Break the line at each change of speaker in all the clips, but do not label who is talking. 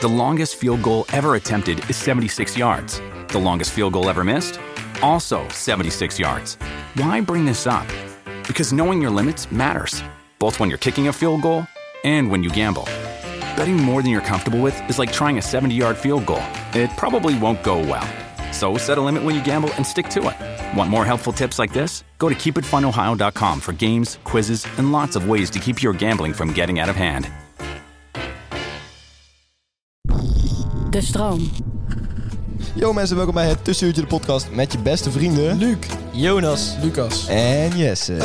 The longest field goal ever attempted is 76 yards. The longest field goal ever missed? Also 76 yards. Why bring this up? Because knowing your limits matters, both when you're kicking a field goal and when you gamble. Betting more than you're comfortable with is like trying a 70 yard field goal, it probably won't go well. So set a limit when you gamble and stick to it. Want more helpful tips like this? Go to keepitfunohio.com for games, quizzes, and lots of ways to keep your gambling from getting out of hand.
De stroom.
Yo mensen, welkom bij het Tussenuurtje de podcast met je beste vrienden... Luc, Jonas
Lucas.
en Jesse.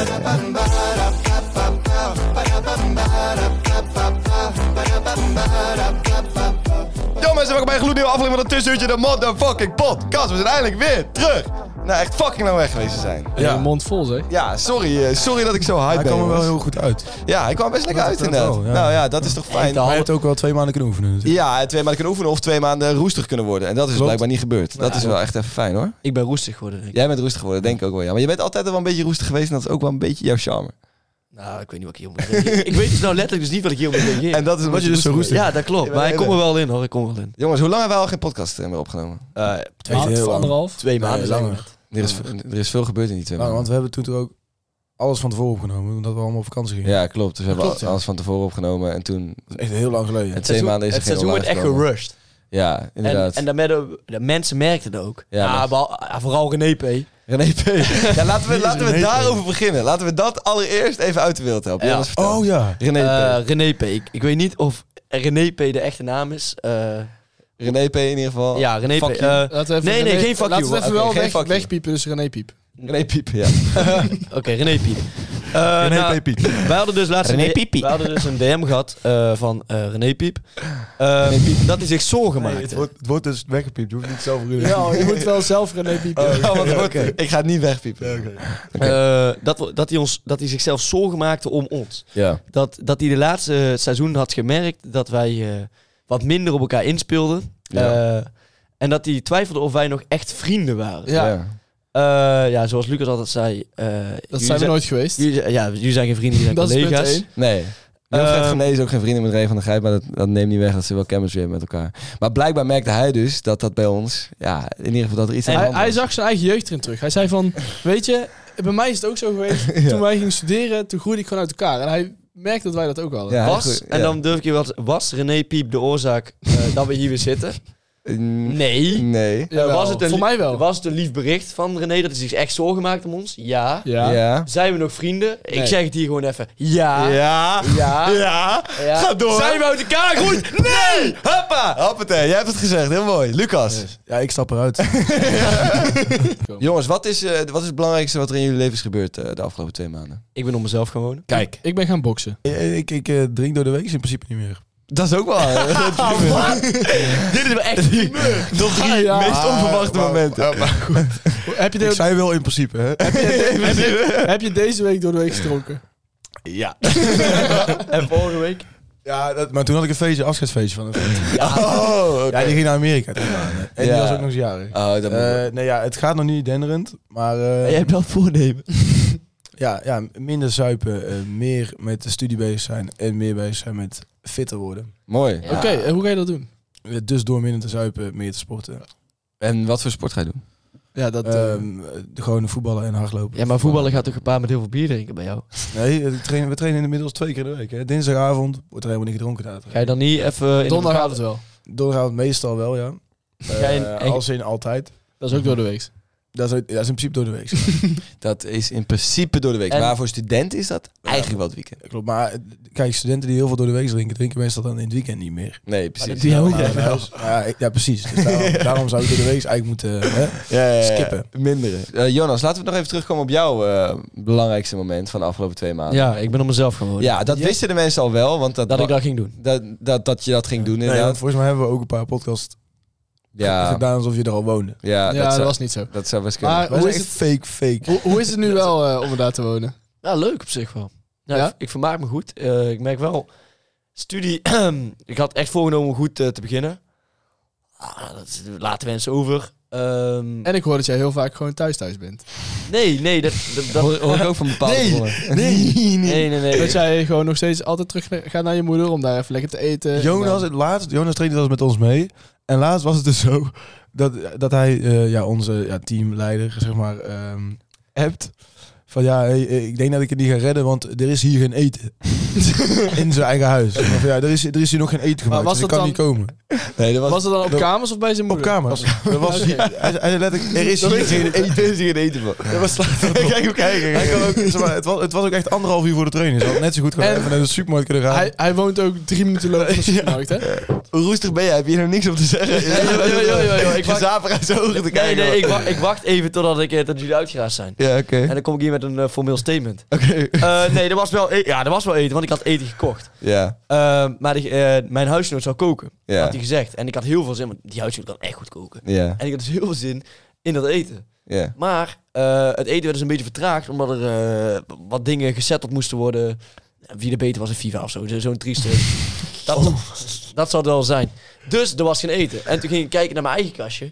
Yo mensen, welkom bij een gloednieuwe aflevering van het Tussenuurtje de motherfucking podcast. We zijn eindelijk weer terug. Nou, echt fucking lang weg geweest te zijn.
Ja. mond vol, zeg.
Ja, sorry, eh, sorry dat ik zo hype
Hij
ben.
kwam er wel
jongens.
heel goed uit.
Ja, ik kwam best lekker
Dat-
uit
dat
inderdaad.
wel, ja.
Nou ja, dat is toch fijn.
Hij heeft ook wel twee maanden kunnen oefenen natuurlijk.
Ja, en twee maanden kunnen oefenen of twee maanden roestig kunnen worden. En dat is
Klopt.
blijkbaar niet gebeurd. Dat is wel echt even fijn hoor.
Ik ben roestig geworden, denk ik.
Jij bent roestig geworden, denk ik ook wel. Ja. Maar je bent altijd wel een beetje roestig geweest en dat is ook wel een beetje jouw charme.
Nou, ik weet niet wat ik hier op moet reageren. ik weet dus nou letterlijk dus niet wat ik hier op moet reageren.
En dat is omdat je dus zo roestig
Ja, dat klopt.
Ja,
Maar
nee,
ik kom
nee.
er wel in, hoor. Ik kom er wel in.
Jongens, hoe lang hebben we al geen podcast eh, meer opgenomen?
Eh,
Twee maanden of Nou, anderhalf? Nou,
twee
Nee,
maanden zijn we
langer.
Er
net.
is, er is veel gebeurd in die twee
Langer, want
maanden.
we hebben toen toch ook alles van tevoren opgenomen, omdat we allemaal op vakantie gingen.
Ja, klopt. Dus we hebben
Klopt, ja.
alles van tevoren opgenomen en toen...
Dat is echt heel lang geleden.
Het- Twee maanden is er
Het
geen
seizoen wordt echt
online
gerushed.
Ja,
En,
inderdaad.
en dan werden we- de mensen merkten dat ook.
Ja,
Ja,
maar-
behal- ah, vooral René P.
René P. ja, laten we,
is
laten we
René P?
daarover beginnen. Laten we dat allereerst even uit de wereld helpen.
Ja.
Jonas, vertel.
oh ja.
René P.
Eh, René P. Ik, ik weet niet of René P. de echte naam is. Eh,
René P. in ieder geval.
ja, René P.
Oh, fuck you.
eh,
Laten we even
Nee, nee, geen fuck
Laten
you.
we even
Oké,
wel
geen
weg-
fuck you.
wegpiepen, dus René Piep.
René Piep, ja.
Oké, René Piep. Eh,
René
nou,
P. Piep.
Wij hadden dus laatst
René
een,
Piepie.
wij hadden dus een DM gehad eh, van eh, René Piep. Eh, Dat hij zich zorgen maakte.
het wordt dus weggepiept, je hoeft niet zelf te
Ja, je moet wel zelf René piepen.
Ja, want het wordt- Ik ga het niet wegpiepen.
Eh, dat, we- dat, hij ons, dat hij zichzelf zorgen maakte om ons.
Ja.
Dat, dat hij de laatste eh, seizoen had gemerkt dat wij eh, wat minder op elkaar inspeelden.
Ja.
Eh, en dat hij twijfelde of wij nog echt vrienden waren.
Ja,
Eh, ja, zoals Lucas altijd zei. eh,
dat
jullie
zijn we nooit geweest.
Jullie, zijn- ja, jullie zijn geen vrienden, jullie zijn
Dat is punt
collega's.
één.
Nee. Wilfred
Ehm,
van Nees is ook geen vrienden met Ray van der Gijp, maar dat, dat neemt niet weg dat ze wel chemistry hebben met elkaar. Maar blijkbaar merkte hij dus dat dat bij ons, ja, in ieder geval dat er iets aan de
Hij,
hand
hij
was.
zag zijn eigen jeugd erin terug. Hij zei van, weet je, bij mij is het ook zo geweest. Toen wij gingen studeren, toen groeide ik gewoon uit elkaar. En hij merkte dat wij dat ook hadden.
Ja,
was,
goed,
en
ja.
dan durf ik je wat, was René Piep de oorzaak eh, dat we hier weer zitten?
Mm,
Nee.
Nee.
Eh, was het een
Voor
lief-
mij wel.
Was het een lief bericht van René dat hij zich echt zorgen maakte om ons? Ja.
Ja.
Ja.
Ja.
Zijn we nog vrienden? Ik
Nee.
zeg het hier gewoon even. Ja.
Ja.
Ja. Ja.
Ga door.
Zijn we uit elkaar groeit?
Nee! Hoppa! Hoppatee, jij hebt het gezegd. Heel mooi. Lucas.
Ja, ik stap eruit.
Jongens, wat is, eh, wat is het belangrijkste wat er in jullie leven is gebeurd eh, de afgelopen twee maanden?
Ik ben op mezelf gaan wonen.
Kijk.
Ik ben gaan boksen.
Eh, ik ik eh, drink door de week is in principe niet meer.
Dat is ook wel...
Dit is wel echt niet
Nog drie
Ja.
meest onverwachte momenten.
Heb je, de-
Ik zei wel in principe, hè.
heb je deze week door de week gedronken?
Ja. en vorige week?
Ja, dat, maar toen had ik een feestje, afscheidsfeestje van een vriend.
Oh, oké.
Ja, die ging naar Amerika. toen maanden. En
Ja.
die was ook nog eens jarig.
Oh, dat moet-
Eh, nee, ja, het gaat nog niet denderend, maar... eh,
Ah, Jij hebt wel voornemen.
Ja, ja minder zuipen, eh, meer met de studie bezig zijn en meer bezig zijn met fitter worden.
Mooi.
Oké, en hoe ga je dat doen?
Dus door minder te zuipen, meer te sporten.
En wat voor sport ga je doen?
Ja, dat... eh,
Ehm, eh, gewoon voetballen en hardlopen.
Ja, maar voetballen gaat toch gepaard met heel veel bier drinken bij jou?
Nee, eh, ik train- we trainen inmiddels twee keer in de week. Hè. Dinsdagavond wordt er helemaal niet gedronken. daar.
Ga je dan niet even... in de
donderdag
lokale-
gaat het wel.
Eh,
Donderdagavond meestal wel, ja.
Ga je-
Eh, als in altijd.
Dat is ook door de week.
Dat is, dat is in principe door de week. zo.
Dat is in principe door de week.
En-
Maar voor student is dat eigenlijk wel het weekend.
Klopt, maar eh, kijk, studenten die heel veel door de week drinken, drinken meestal dan in het weekend niet meer.
Nee, precies.
die ook.
Maar bij ons- ja, ik- ja, precies. Dus daarom, daarom zou ik door de week eigenlijk moeten... Hè?
Ja, ja, ja.
Skippen.
Minderen. Eh, Jonas, laten we nog even terugkomen op jouw eh, belangrijkste moment van de afgelopen twee maanden.
Ja, ik ben op mezelf geworden.
Ja, dat wisten de mensen al wel, want dat,
Dat ik dat ging doen.
dat, dat, dat je dat ging doen
Nee, want
inderdaad.
volgens mij hebben we ook een paar podcasts
ja, ja,
gedaan alsof je er al woonde.
Ja,
dat,
dat
zou,
was niet zo.
dat zou best kunnen.
Maar
Wij
hoe
zijn
is,
echt
het,
fake, fake.
hoe, hoe is het nu wel eh, om er daar te wonen?
Ja, leuk op zich wel. Ja,
Ja?
Ik, ik vermaak me goed. Eh, ik merk wel, studie, ik had echt voorgenomen om goed eh, te beginnen. Ah, dat laten mensen over. Ehm,
En ik hoor dat jij heel vaak gewoon thuis thuis bent.
nee, nee, dat, dat, dat-
Hoor, hoor ik ook van bepaalde
Nee,
bronnen.
nee, nee, nee.
Dat jij gewoon nog steeds altijd terug gaat naar je moeder om daar even lekker te eten.
Jonas, het laatst, Jonas trainde wel eens met ons mee. En laatst was het dus zo dat, dat hij eh, ja, onze ja, teamleider, zeg maar, ehm appt. Van ja, hey, eh, ik denk dat ik het niet ga redden, want er is hier geen eten. In zijn eigen huis. Of ja, er is, er is hier nog geen eten gemaakt,
was
dus ik
dat
kan niet
dan-
komen.
Nee, dat was...
Was het dan op
dat-
kamers of bij zijn
Op
moeder?
kamer. Er was, hij, hij zei letterlijk, er is
Er
hier
is
geen
geen
eten.
eten, er is hier geen eten van.
Dat was Kijk hem kijken. Hij kan ook, zeg maar, het, was, het was ook echt anderhalf uur voor de training. Ze had net zo goed gewoon
En-
even naar de supermarkt kunnen gaan.
Hij, hij woont ook drie minuten lopen van de supermarkt, hè?
Hoe roestig ben jij? Heb je hier nog niks op te zeggen?
Ja, ja, ja, ja, ja, ja, ik
Ik was
wacht-
zaper aan zijn ogen te
Nee,
kijken.
nee,
hoor.
ik, wa- ik wacht even totdat, ik, eh, tot jullie uitgeraasd zijn.
Ja, oké.
En dan kom ik hier met een eh, formeel statement.
Oké.
Eh, nee, er was, wel e- ja, er was wel eten, want ik had eten gekocht.
Ja,
Eh, maar die- eh, mijn huisgenoot zou koken,
ja,
had hij gezegd. En ik had heel veel zin, want die huisgenoot kan echt goed koken.
ja,
En ik had dus heel veel zin in dat eten.
ja.
Maar eh, het eten werd dus een beetje vertraagd, omdat er eh, wat dingen gesetteld moesten worden. Wie er beter was in FIFA of zo, zo- zo'n trieste. dat, dat zou het wel zijn. Dus er was geen eten. En toen ging ik kijken naar mijn eigen kastje.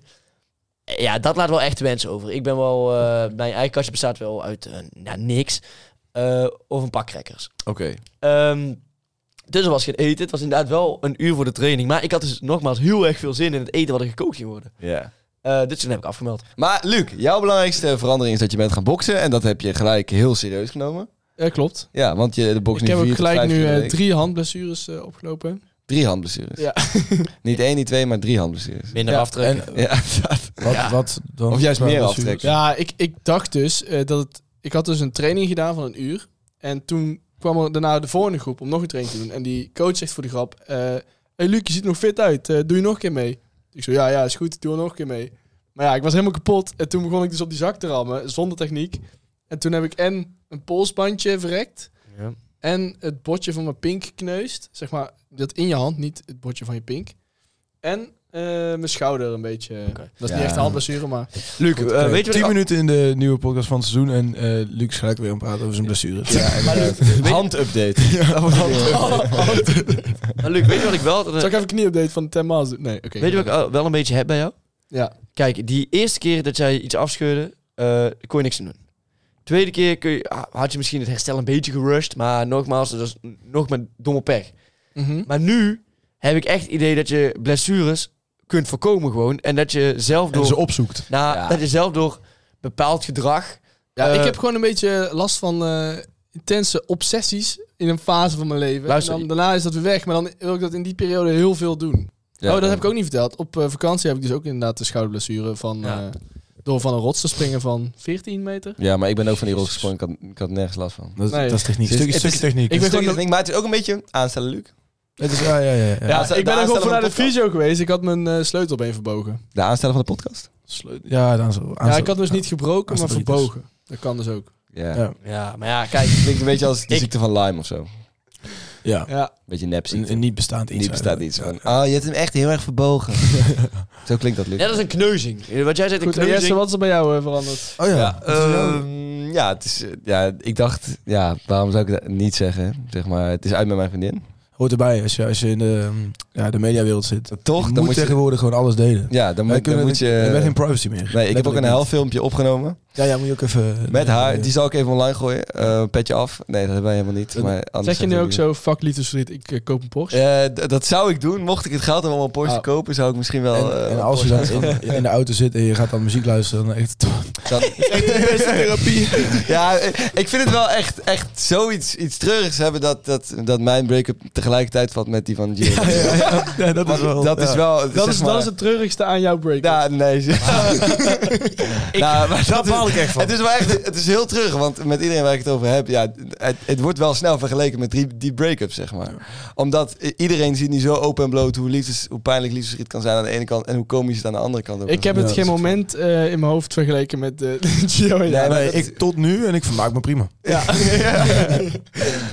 Eh, Ja, dat laat wel echt te wensen over. Ik ben wel, eh, mijn eigen kastje bestaat wel uit eh, nou, niks. Eh, of een pak crackers.
Oké.
Ehm, dus er was geen eten. Het was inderdaad wel een uur voor de training. Maar ik had dus nogmaals heel erg veel zin in het eten wat er gekookt ging worden.
Ja.
Eh dus toen heb ik afgemeld.
Maar Luc, jouw belangrijkste verandering is dat je bent gaan boksen. En dat heb je gelijk heel serieus genomen.
Ja, klopt.
Ja, want je de boks
Ik
nu
heb
vier
ook
tot
gelijk
vijf
nu
keer in de
eh,
week.
drie handblessures eh, opgelopen.
Drie handblessures.
Ja.
niet één, niet twee, maar drie handblessures.
Minder aftrekken.
en,
Ja, inderdaad.
wat, wat dan?
Of juist meer
Blessures.
aftrekken.
Ja, ik, ik dacht dus eh, dat het... Ik had dus een training gedaan van een uur. En toen kwam er daarna de volgende groep om nog een training te doen. En die coach zegt voor de grap... eh hey Luc, je ziet er nog fit uit. Eh, doe je nog een keer mee? Ik zo, ja, ja, is goed. Ik doe er nog een keer mee. Maar ja, ik was helemaal kapot. En toen begon ik dus op die zak te rammen, zonder techniek. En toen heb ik en een polsbandje verrekt...
Ja.
En het botje van mijn pink gekneusd. Zeg maar, dat in je hand, niet het botje van je pink. En eh, mijn schouder een beetje. Dat is
Ja.
niet echt een handblessure, maar...
Luc, eh,
Oké,
weet je wat ik-
10 minuten in de nieuwe podcast van het seizoen en eh Luc gaat weer aan het praten over zijn blessures.
Maar Luc,
Handupdate.
maar Nou, Luc, weet je wat ik wel...
Zal ik even knieupdate van de 10 miles doen? Nee, oké.
weet je wat ik eh, wel een beetje heb bij jou?
Ja.
Kijk, die eerste keer dat jij iets afscheurde, eh, kon je niks aan doen. Tweede keer kun je, ah, had je misschien het herstel een beetje gerushed, maar nogmaals, dat is n- nog met domme pech.
Mhm.
Maar nu heb ik echt het idee dat je blessures kunt voorkomen gewoon. En dat je zelf
En ze
door,
opzoekt.
nou,
Ja.
dat je zelf door bepaald gedrag...
Ja,
eh,
ik heb gewoon een beetje last van eh, intense obsessies in een fase van mijn leven.
Luister,
en dan, daarna is dat weer weg, maar dan wil ik dat in die periode heel veel doen. oh, dat heb ik ook niet verteld. Op eh, vakantie heb ik dus ook inderdaad de schouderblessure van...
Ja.
eh, door van een rots te springen van 14 meter.
Ja, maar ik ben ook van die rol gesprongen. Ik had, ik had nergens last van.
Dat, is-
Nee.
dat is techniek.
Het is-
Stukje,
het is-
stukje techniek.
ik ben
Stukje
gewoon-
techniek, maar het is ook een beetje aanstellen, Luc.
Het is, ja, ja, ja. ja.
Ja,
Ja,
ze-
ik ben
de
ook gewoon
aansteller
naar de
van de
fysio geweest. Ik had mijn eh, sleutelbeen verbogen.
De aanstellen van de podcast.
Sleutel- ja, dan zo.
Ja, ik had dus niet gebroken, maar
Aanstelritis.
verbogen. Dat kan dus ook.
Ja.
Ja.
Ja, maar ja, kijk.
Klinkt een beetje als de
Ik-
ziekte van Lyme of zo.
Ja,
Ja,
Beetje nepziekte.
een, een niet bestaand iets.
Die bestaat
eigenlijk.
niet zo. Oh, je hebt hem echt heel erg verbogen. zo klinkt dat, Luc.
Ja, dat is een kneuzing. Wat jij zegt, een
goed. En
kneuzing.
Jesse, wat is er bij jou eh, veranderd?
Oh ja.
Ja,
dat is wel-
ehm, ja, het is, eh, ja, ik dacht, ja, waarom zou ik dat niet zeggen? Zeg maar, het is uit met mijn vriendin.
hoort erbij als je, als je in de, ehm, ja, de mediawereld zit.
Toch?
je
dan
moet
moet je,
tegenwoordig gewoon alles delen.
ja, dan,
Wij
moet, dan
kunnen
moet
het- we hebben geen
je...
privacy meer.
Nee, ik heb ook een
Letterlijk niet.
helfilmpje opgenomen
Ja, ja, moet je ook even...
met haar.
Ja.
Die zal ik even online gooien. Eh, petje af. Nee, dat hebben wij helemaal niet.
Dat-
Maar anders
Zeg je nu
zijn
ook
we
zo, fuck liefdesverdriet, ik eh, koop een Porsche?
hier. Eh, d- dat zou ik doen. Mocht ik het geld hebben om een Porsche
Oh.
te kopen, zou ik misschien wel...
En,
eh,
en
een
als je
Porsche
dan in, in de auto zit en je gaat dan muziek luisteren, dan echt...
Dan- ja, eh, ik vind het wel echt, echt zoiets iets treurigs hebben dat, dat, dat mijn break-up tegelijkertijd valt met die van Gio. Ja, ja,
Ja, dat is wel...
dat is
ja.
wel...
Dat, is, dat is het treurigste aan jouw break.
Ja, nee. Nou, maar dat is-
baal ik echt van.
Het is, wel echt, het is heel terug, want met iedereen waar ik het over heb, ja, het, het wordt wel snel vergeleken met die, die break-up, zeg maar. Omdat i- iedereen ziet nu zo open en bloot hoe, liefdes, hoe pijnlijk liefdesverdriet kan zijn aan de ene kant en hoe komisch het aan de andere kant ook
ik heb
kan
het
zijn.
geen moment eh, in mijn hoofd vergeleken met eh, Gio en
Nee,
jou.
maar
Nee,
dat-
ik tot nu en ik vermaak me prima.
Ja.
Maar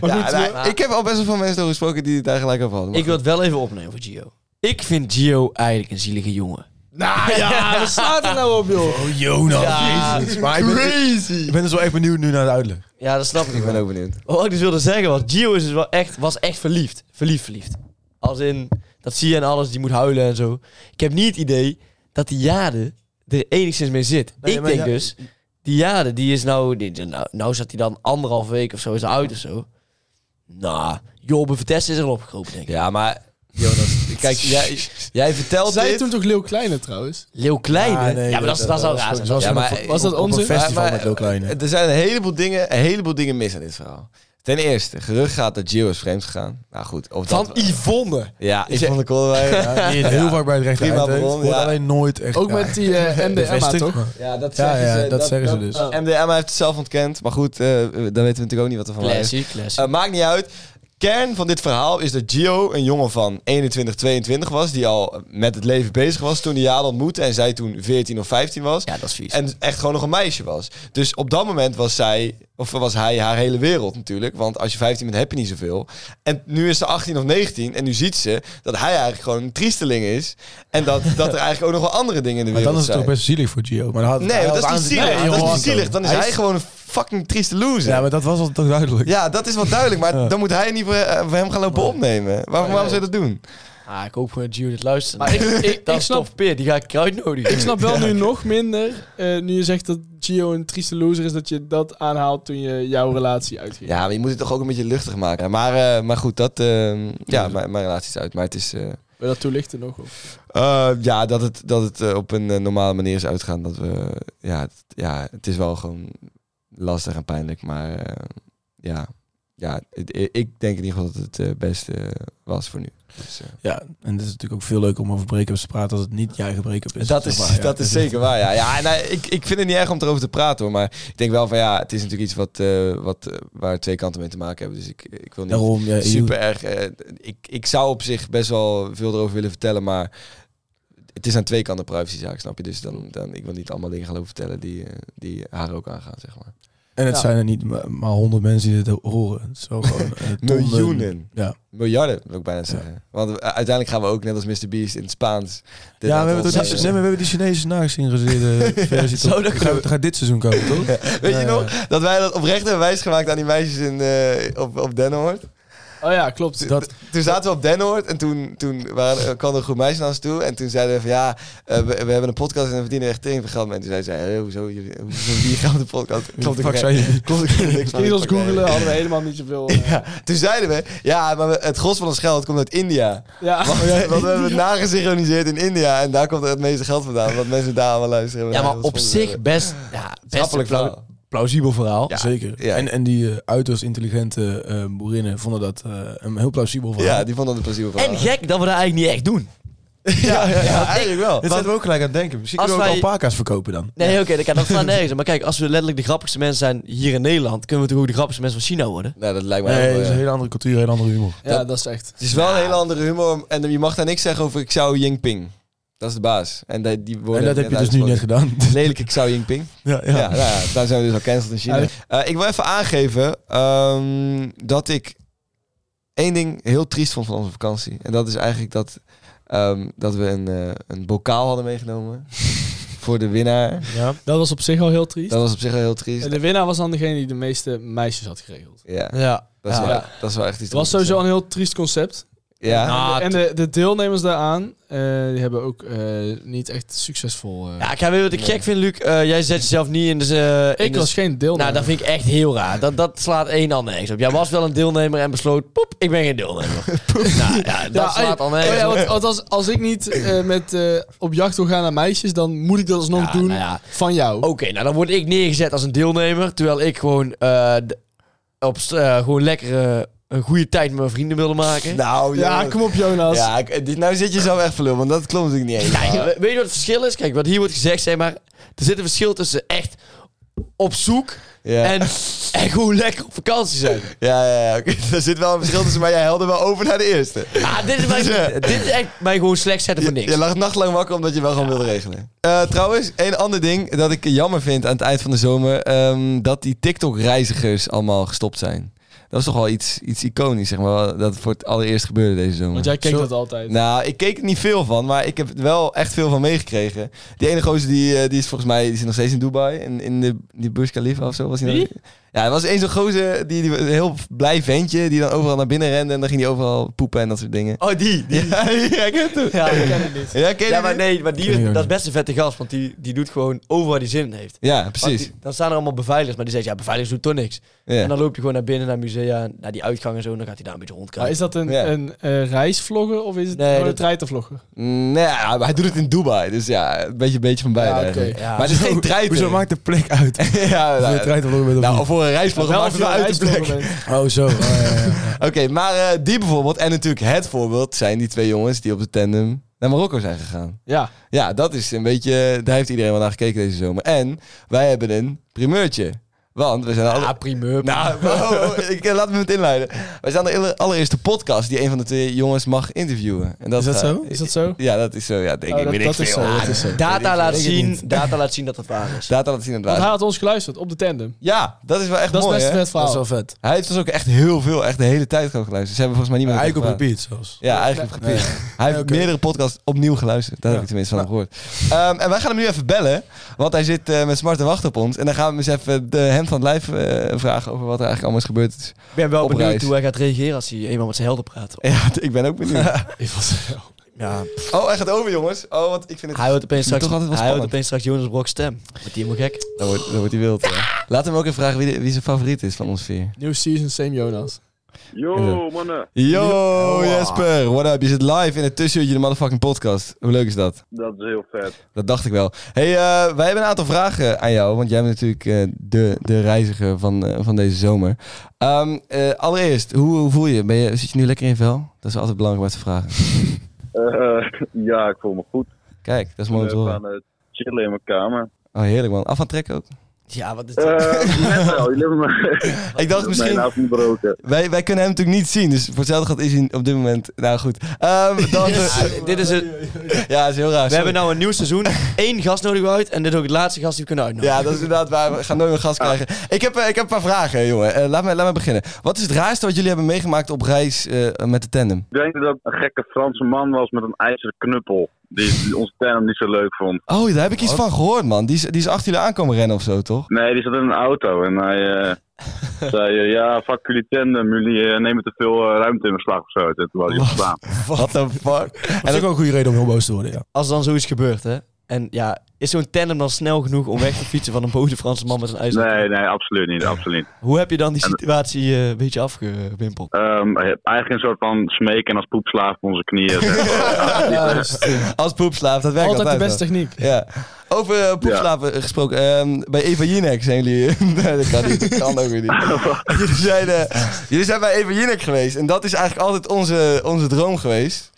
Ja,
goed,
nou,
maar-
ik heb al best wel veel mensen door gesproken die het daar gelijk over hadden.
Ik wil het wel even opnemen voor Gio. Ik vind Gio eigenlijk een zielige jongen.
Nou ja, wat slaat er nou op, joh?
Oh, Jonas.
Ah.
Jezus. Maar ik ben,
Crazy.
ik ben dus wel echt benieuwd nu naar de uitleg.
Ja, dat snap ik.
Ik ben ook benieuwd.
Wat ik dus wilde zeggen was, Gio is dus wel echt, was echt verliefd. Verliefd, verliefd. Als in, dat zie je en alles, die moet huilen en zo. Ik heb niet het idee dat die Jade er enigszins mee zit.
Nee,
ik
maar
denk
ja-
dus, die Jade, die is nou, die- die- nou, nou zat hij dan anderhalf week of zo, is hij uit of zo. Nou, Job Vertes is er al opgekropen, denk ik.
Ja, maar Jonas, kijk, jij, jij vertelt
Zij
dit.
toen toch Leeuw Kleine trouwens?
Leeuw Kleine?
Ah, nee,
ja, maar dat, is- dat, zou raar zijn.
Zoals
Ja,
ja,
maar-
maar,
Was dat
op
onzin?
een festival
Maar-
met Lil Kleine.
Er zijn een heleboel dingen, een heleboel dingen mis aan dit verhaal. Ten eerste, gerucht gaat dat Gio is vreemd gegaan. Nou goed, of
Van
dat...
Yvonne.
Ja, Yvonne Kolderwijn.
Ja, die is heel vaak bij het rechte
Prima
eind, hè.
bron,
Wordt
ja.
alleen nooit echt...
Ook
ja,
met die eh MDMA,
bevestigd,
toch?
maar-
Ja, dat
Ja,
zeggen,
ja,
ze,
dat zeggen ze dus.
dat- MDMA heeft het zelf ontkend, maar goed, eh, dan weten we natuurlijk ook niet wat er van waar is.
Classic, classic.
Eh, maakt niet uit. Kern van dit verhaal is dat Gio een jongen van 21, 22 was, die al met het leven bezig was toen hij Jade ontmoette en zij toen 14 of 15 was.
ja, dat is vies.
En echt gewoon nog een meisje was. Dus op dat moment was zij, of was hij haar hele wereld natuurlijk. Want als je 15 bent, heb je niet zoveel. En nu is ze 18 of 19 en nu ziet ze dat hij eigenlijk gewoon een triesteling is. En dat, dat er eigenlijk ook nog wel andere dingen in de
Maar
wereld
dan is het
zijn.
toch best zielig voor Gio. Maar dan had,
Nee,
hij
dat
had
is niet
aan-
zielig.
Nee,
dat is
joh.
niet zielig. Dan is hij, gewoon een fucking trieste loser.
Ja, maar dat was al toch duidelijk.
Ja, dat is wel duidelijk. Maar dan moet hij niet voor, eh, voor hem gaan lopen opnemen. Waarom, waarom zou je dat doen?
Ah, ik hoop gewoon dat Gio dit luistert.
Maar ik, ik,
dat
ik,
is
snap,
tof, Peer. Die ga ik uitnodigen.
ik snap wel nu nog minder, eh, nu je zegt dat Gio een trieste loser is, dat je dat aanhaalt toen je jouw relatie uitging.
Ja, maar je moet het toch ook een beetje luchtig maken. Maar, eh, maar goed, dat... eh, ja, mijn, mijn relatie is uit. Maar het is... eh,
Wil je dat toelichten nog? Of?
Eh, ja, dat het, dat het eh, op een eh, normale manier is uitgaan. Dat we, ja, het, ja, het is wel gewoon lastig en pijnlijk. Maar eh, ja, ja het- i- ik denk in ieder geval dat het het beste was voor nu. Dus, eh,
Ja, en het is natuurlijk ook veel leuker om over break-ups te praten als het niet je eigen break-up is.
dat is,
Zeg maar, ja.
dat is zeker waar, ja. ja nou, ik, ik vind het niet erg om erover te praten, hoor. Maar ik denk wel van, ja, het is natuurlijk iets wat, eh, wat, eh, waar twee kanten mee te maken hebben. Dus ik, ik wil niet
Daarom, ja, je-
super erg... eh, ik, ik zou op zich best wel veel erover willen vertellen, maar... Het is aan twee kanten privacyzaak, snap je? Dus dan, dan, ik wil niet allemaal dingen gaan lopen vertellen die, eh, die haar ook aangaan, zeg maar.
En het
Ja.
zijn er niet ma- maar honderd mensen die dit horen. Het is wel gewoon eh, tonnen-
Miljoenen.
Ja.
Miljarden, wil ik bijna zeggen. Want eh, uiteindelijk gaan we ook, net als Mr. Beast, in het Spaans... dit laten
Ja, we hebben,
ontzetten.
toch die, nee, maar we hebben die Chinese nagesynchroniseerde versie.
Zou
toch-
dat
gaat-
kunnen?
gaat dit seizoen komen, toch?
Weet je
Ja,
nog? Dat wij dat oprecht hebben wijsgemaakt aan die meisjes in, eh, op, op Denhoord.
Oh ja, klopt.
Dat,
Toen zaten we op Denhoord en toen, toen waren, eh, kwam er een groep meisjes naar ons toe. En toen zeiden we van ja, eh, we, we hebben een podcast en we verdienen echt tering veel geld mee. En toen zei zij, eh, hoezo, jullie- hoezo die gaan we de podcast? Klopt,
de
ik
fuck zijn jullie?
Klopt, ik niks van.
Niet ons
Oké.
googelen hadden we helemaal niet zoveel. eh,
Ja, toen zeiden we, ja, maar we- het gros van ons geld komt uit India.
ja.
Want,
Oh,
want we hebben het nagesynchroniseerd in India en daar komt het meeste geld vandaan. Want mensen daar allemaal luisteren. en
Ja,
daar
maar
heel
op
veel
zich
sponsors
best, ja, best een
Schappelijk
plau-
verhaal.
plausibel verhaal.
Zeker.
ja.
En, en die eh, uiterst intelligente eh, boerinnen vonden dat eh, een heel plausibel
hebben.
verhaal.
Ja, die vonden het een plezier van.
En gek dat we dat eigenlijk niet echt doen.
ja, ja, ja, eigenlijk wel.
Dit zijn we ook gelijk aan het denken. Misschien
Als
kunnen we ook
wij-
alpaca's verkopen dan.
Nee, oké, dat kan dat slaat nergens. op. Maar kijk, als we letterlijk de grappigste mensen zijn hier in Nederland, kunnen we toch ook de grappigste mensen van China worden?
Nou, dat lijkt me
Nee,
echt
het
wel,
is
ja.
een hele andere cultuur, een hele andere humor.
ja, dat is echt.
Het is wel een hele andere humor. En je mag daar niks zeggen over Xiao Jinping. Dat is de baas. En die, die worden
En dat heb je dus nu net gedaan.
Lelijke Xiao Jinping.
ja,
Ja.
ja.
nou ja, daar zijn we dus al cancelled in China. Eh, ik wil even aangeven ehm, dat ik één ding heel triest vond van onze vakantie. En dat is eigenlijk dat, ehm, dat we een, eh, een bokaal hadden meegenomen voor de winnaar.
Ja.
Dat was op zich al heel triest.
Dat was op zich wel heel triest.
En de winnaar was dan degene die de meeste meisjes had geregeld.
Ja,
Ja.
dat is,
Ja.
Wel,
Ja.
dat is wel echt iets.
Het was
triest.
sowieso een heel triest concept.
Ja.
Nou,
En de, de deelnemers daaraan, eh, die hebben ook eh, niet echt succesvol... eh,
ja, ik ga weer wat ik gek vind, Luc. Eh, jij zet jezelf niet in de... eh, in
ik
de-
was geen deelnemer.
Nou, dat vind ik echt heel raar. Dat, dat slaat één al nergens op. Jij was wel een deelnemer en besloot, poep, ik ben geen deelnemer. nou ja, dat
Ja,
slaat
ey,
al nergens
oh ja,
op.
want, want als, als ik niet eh, met, eh, op jacht wil gaan naar meisjes, dan moet ik dat alsnog
Ja,
doen
nou ja.
van jou.
Oké, nou dan word ik neergezet als een deelnemer, terwijl ik gewoon, eh, d- op, st- eh, gewoon lekker eh, een goede tijd met mijn vrienden wilde maken.
Nou,
Ja,
joh.
kom op Jonas.
Ja, ik- dit, nou zit je zo echt verlul, want dat klopt natuurlijk niet eens.
Kijk, we- weet je wat het verschil is? Kijk, wat hier wordt gezegd, zeg maar. Er zit een verschil tussen echt op zoek
Ja.
en, en gewoon lekker op vakantie zijn.
Ja, ja, ja. oké. Er zit wel een verschil tussen, maar jij helde wel over naar de eerste.
Ah, dit, is mijn,
Ja.
dit is echt mij gewoon slecht zetten voor
Je,
niks.
je lag nachtlang wakker omdat je wel gewoon wilde regelen. Eh, trouwens, een ander ding dat ik jammer vind aan het eind van de zomer... ehm, dat die TikTok-reizigers allemaal gestopt zijn. Dat is toch wel iets, iets iconisch, zeg maar. Dat voor het allereerst gebeurde deze zomer.
Want jij keek
Zo-
dat altijd.
Nou, ik keek er niet veel van, maar ik heb er wel echt veel van meegekregen. Die ene gozer die, eh, die is volgens mij die zit nog steeds in Dubai. In, in de die Burj Khalifa of zo. Was hij
Wie?
dan- Ja, er was één zo'n gozer, die, die, een heel blij ventje, die dan overal naar binnen rende. En dan ging hij overal poepen en dat soort dingen.
Oh, die. die.
Ja, jij kent hem.
Ja,
Ja, ken je
Ja, maar
die?
nee, maar die,
Ken ik ook
dat is
niet.
best een vette gast, want die, die doet gewoon over waar die zin in heeft.
Ja,
Want
precies.
die- dan staan er allemaal beveiligers, maar die zegt, ja, beveiligers doet toch niks.
Ja.
En dan loopt hij gewoon naar binnen, naar musea, naar die uitgang en zo, en dan gaat hij daar een beetje rondkijken.
Maar is dat een,
Ja.
een eh, reisvlogger of is het
Nee,
gewoon
dat-
een treitervlogger?
Nee, ja, maar hij doet het in Dubai. Dus ja, een beetje, een beetje van beide
Ja, oké.
eigenlijk.
Ja.
Maar het is geen treiter.
Hoezo maakt de plek uit? Of
ja,
je
nou,
de trein toch nog met
nou, of voor een reisvlog maakt het wel
een
uit de plek.
reisvlogger bent.
Oh, zo. Oh, ja, ja, ja.
Oké, maar eh, die bijvoorbeeld, en natuurlijk het voorbeeld, zijn die twee jongens die op de tandem naar Marokko zijn gegaan.
Ja, oh,
Ja, dat is een beetje, daar heeft iedereen wel naar gekeken deze zomer. En wij hebben een primeurtje. Want we zijn alle...
Ah, primeur.
Nou, wow, wow, ik, eh, laat me het inleiden. Wij zijn de aller- allereerste podcast die een van de twee jongens mag interviewen. En dat
Is dat
gaat-
zo?
is dat zo?
Ja, dat is zo. Ja, denk
Oh,
ik.
dat-
weet ik
dat is
veel.
zo, dat is zo.
data, laat
weet het
zien,
niet.
data laat zien dat dat waar is.
Laat dat zien aan het
Want hij
laatst.
had ons geluisterd op de tandem.
Ja, dat is wel echt
Dat is
mooi,
best een
hè?
vet
Dat is
verhaal.
wel vet.
Hij heeft ons ook echt heel veel, echt de hele tijd gewoon geluisterd. Ze hebben volgens mij niet meer...
Eigenlijk op repeat zelfs.
Ja, eigenlijk op repeat. Hij heeft
Oké.
meerdere podcasts opnieuw geluisterd. Daar heb ik tenminste van gehoord. Ehm, en wij gaan hem nu even bellen. Want hij zit eh, met smart te wachten op ons. En dan gaan we hem eens even de hem van het lijf eh, vragen over wat er eigenlijk allemaal is gebeurd. Dus-
Ik ben wel
Op
benieuwd
reis.
hoe hij gaat reageren als hij eenmaal met zijn helden praat.
Ja, ik ben ook benieuwd.
Ja,
oh, hij gaat over, jongens. Oh, want ik vind het...
hij hoort opeens straks,
toch altijd wel
hij hoort
spannend.
opeens straks Jonas Brok's stem. Wordt die helemaal gek?
Dan wordt, dan wordt hij wild, ja. Laat hem ook even vragen wie, de- wie zijn favoriet is van ons vier.
New season, same Jonas.
Inderdaad.
Yo, Oh, mannen.
Yo, Jesper. What up? Je zit live in het tussenuurtje de motherfucking podcast. Hoe leuk is dat?
Dat is heel vet.
Dat dacht ik wel. hey, eh, wij hebben een aantal vragen aan jou. Want jij bent natuurlijk eh, de, de reiziger van, eh, van deze zomer. Ehm, eh, allereerst, hoe, hoe voel je? Ben je? Zit je nu lekker in je vel? Dat is altijd belangrijk om te vragen.
Eh, ja, ik voel me goed.
Kijk, dat is mooi om
We
te
gaan
horen.
eh, chillen in mijn kamer.
Oh, heerlijk man. Af aan trekken ook.
Ja, wat is
Eh, net wel, jullie hebben me
Ik dacht
mijn
misschien...
avond broken.
Wij, wij kunnen hem natuurlijk niet zien. Dus voor hetzelfde gaat is hij op dit moment... Nou goed. Ehm, dan,
Ja, dit is het.
ja, dat is heel raar.
We
sorry.
hebben nou een nieuw seizoen. Eén gast nodig uit. En dit is ook het laatste gast die we kunnen uitnodigen.
Ja, dat is inderdaad waar. We gaan nooit meer gas krijgen. Ik heb, eh, ik heb een paar vragen, jongen. Eh, laat, me, laat me beginnen. Wat is het raarste wat jullie hebben meegemaakt op reis eh, met de tandem?
Ik denk dat het een gekke Franse man was met een ijzeren knuppel. Die, die onze term niet zo leuk vond.
Oh, daar heb ik iets van gehoord, man. Die is, die is achter jullie aankomen rennen of zo, toch?
Nee, die zat in een auto en hij eh, zei: eh, Ja, fuck jullie tandem, jullie eh, nemen te veel eh, ruimte in beslag of zo. En Toen was hij ontstaan.
What the fuck?
Dat is ook wel een goede reden om heel boos te worden, ja.
Als er dan zoiets gebeurt, hè. En ja, is zo'n tandem dan snel genoeg om weg te fietsen van een boze Franse man met een ijzer?
Nee, nee, absoluut niet. Absoluut niet.
Hoe heb je dan die situatie eh, een beetje afgewimpeld?
Ehm, eigenlijk een soort van smeken als poepslaaf op onze knieën. zeg maar.
Als poepslaaf, dat werkt altijd.
Altijd de beste
wel.
techniek.
Ja. Over eh, poepslaven gesproken. ehm, bij Eva Jinek zijn jullie... nee, dat kan niet. Dat kan ook weer niet. jullie, zijn, eh, jullie zijn bij Eva Jinek geweest. En dat is eigenlijk altijd onze, onze droom geweest.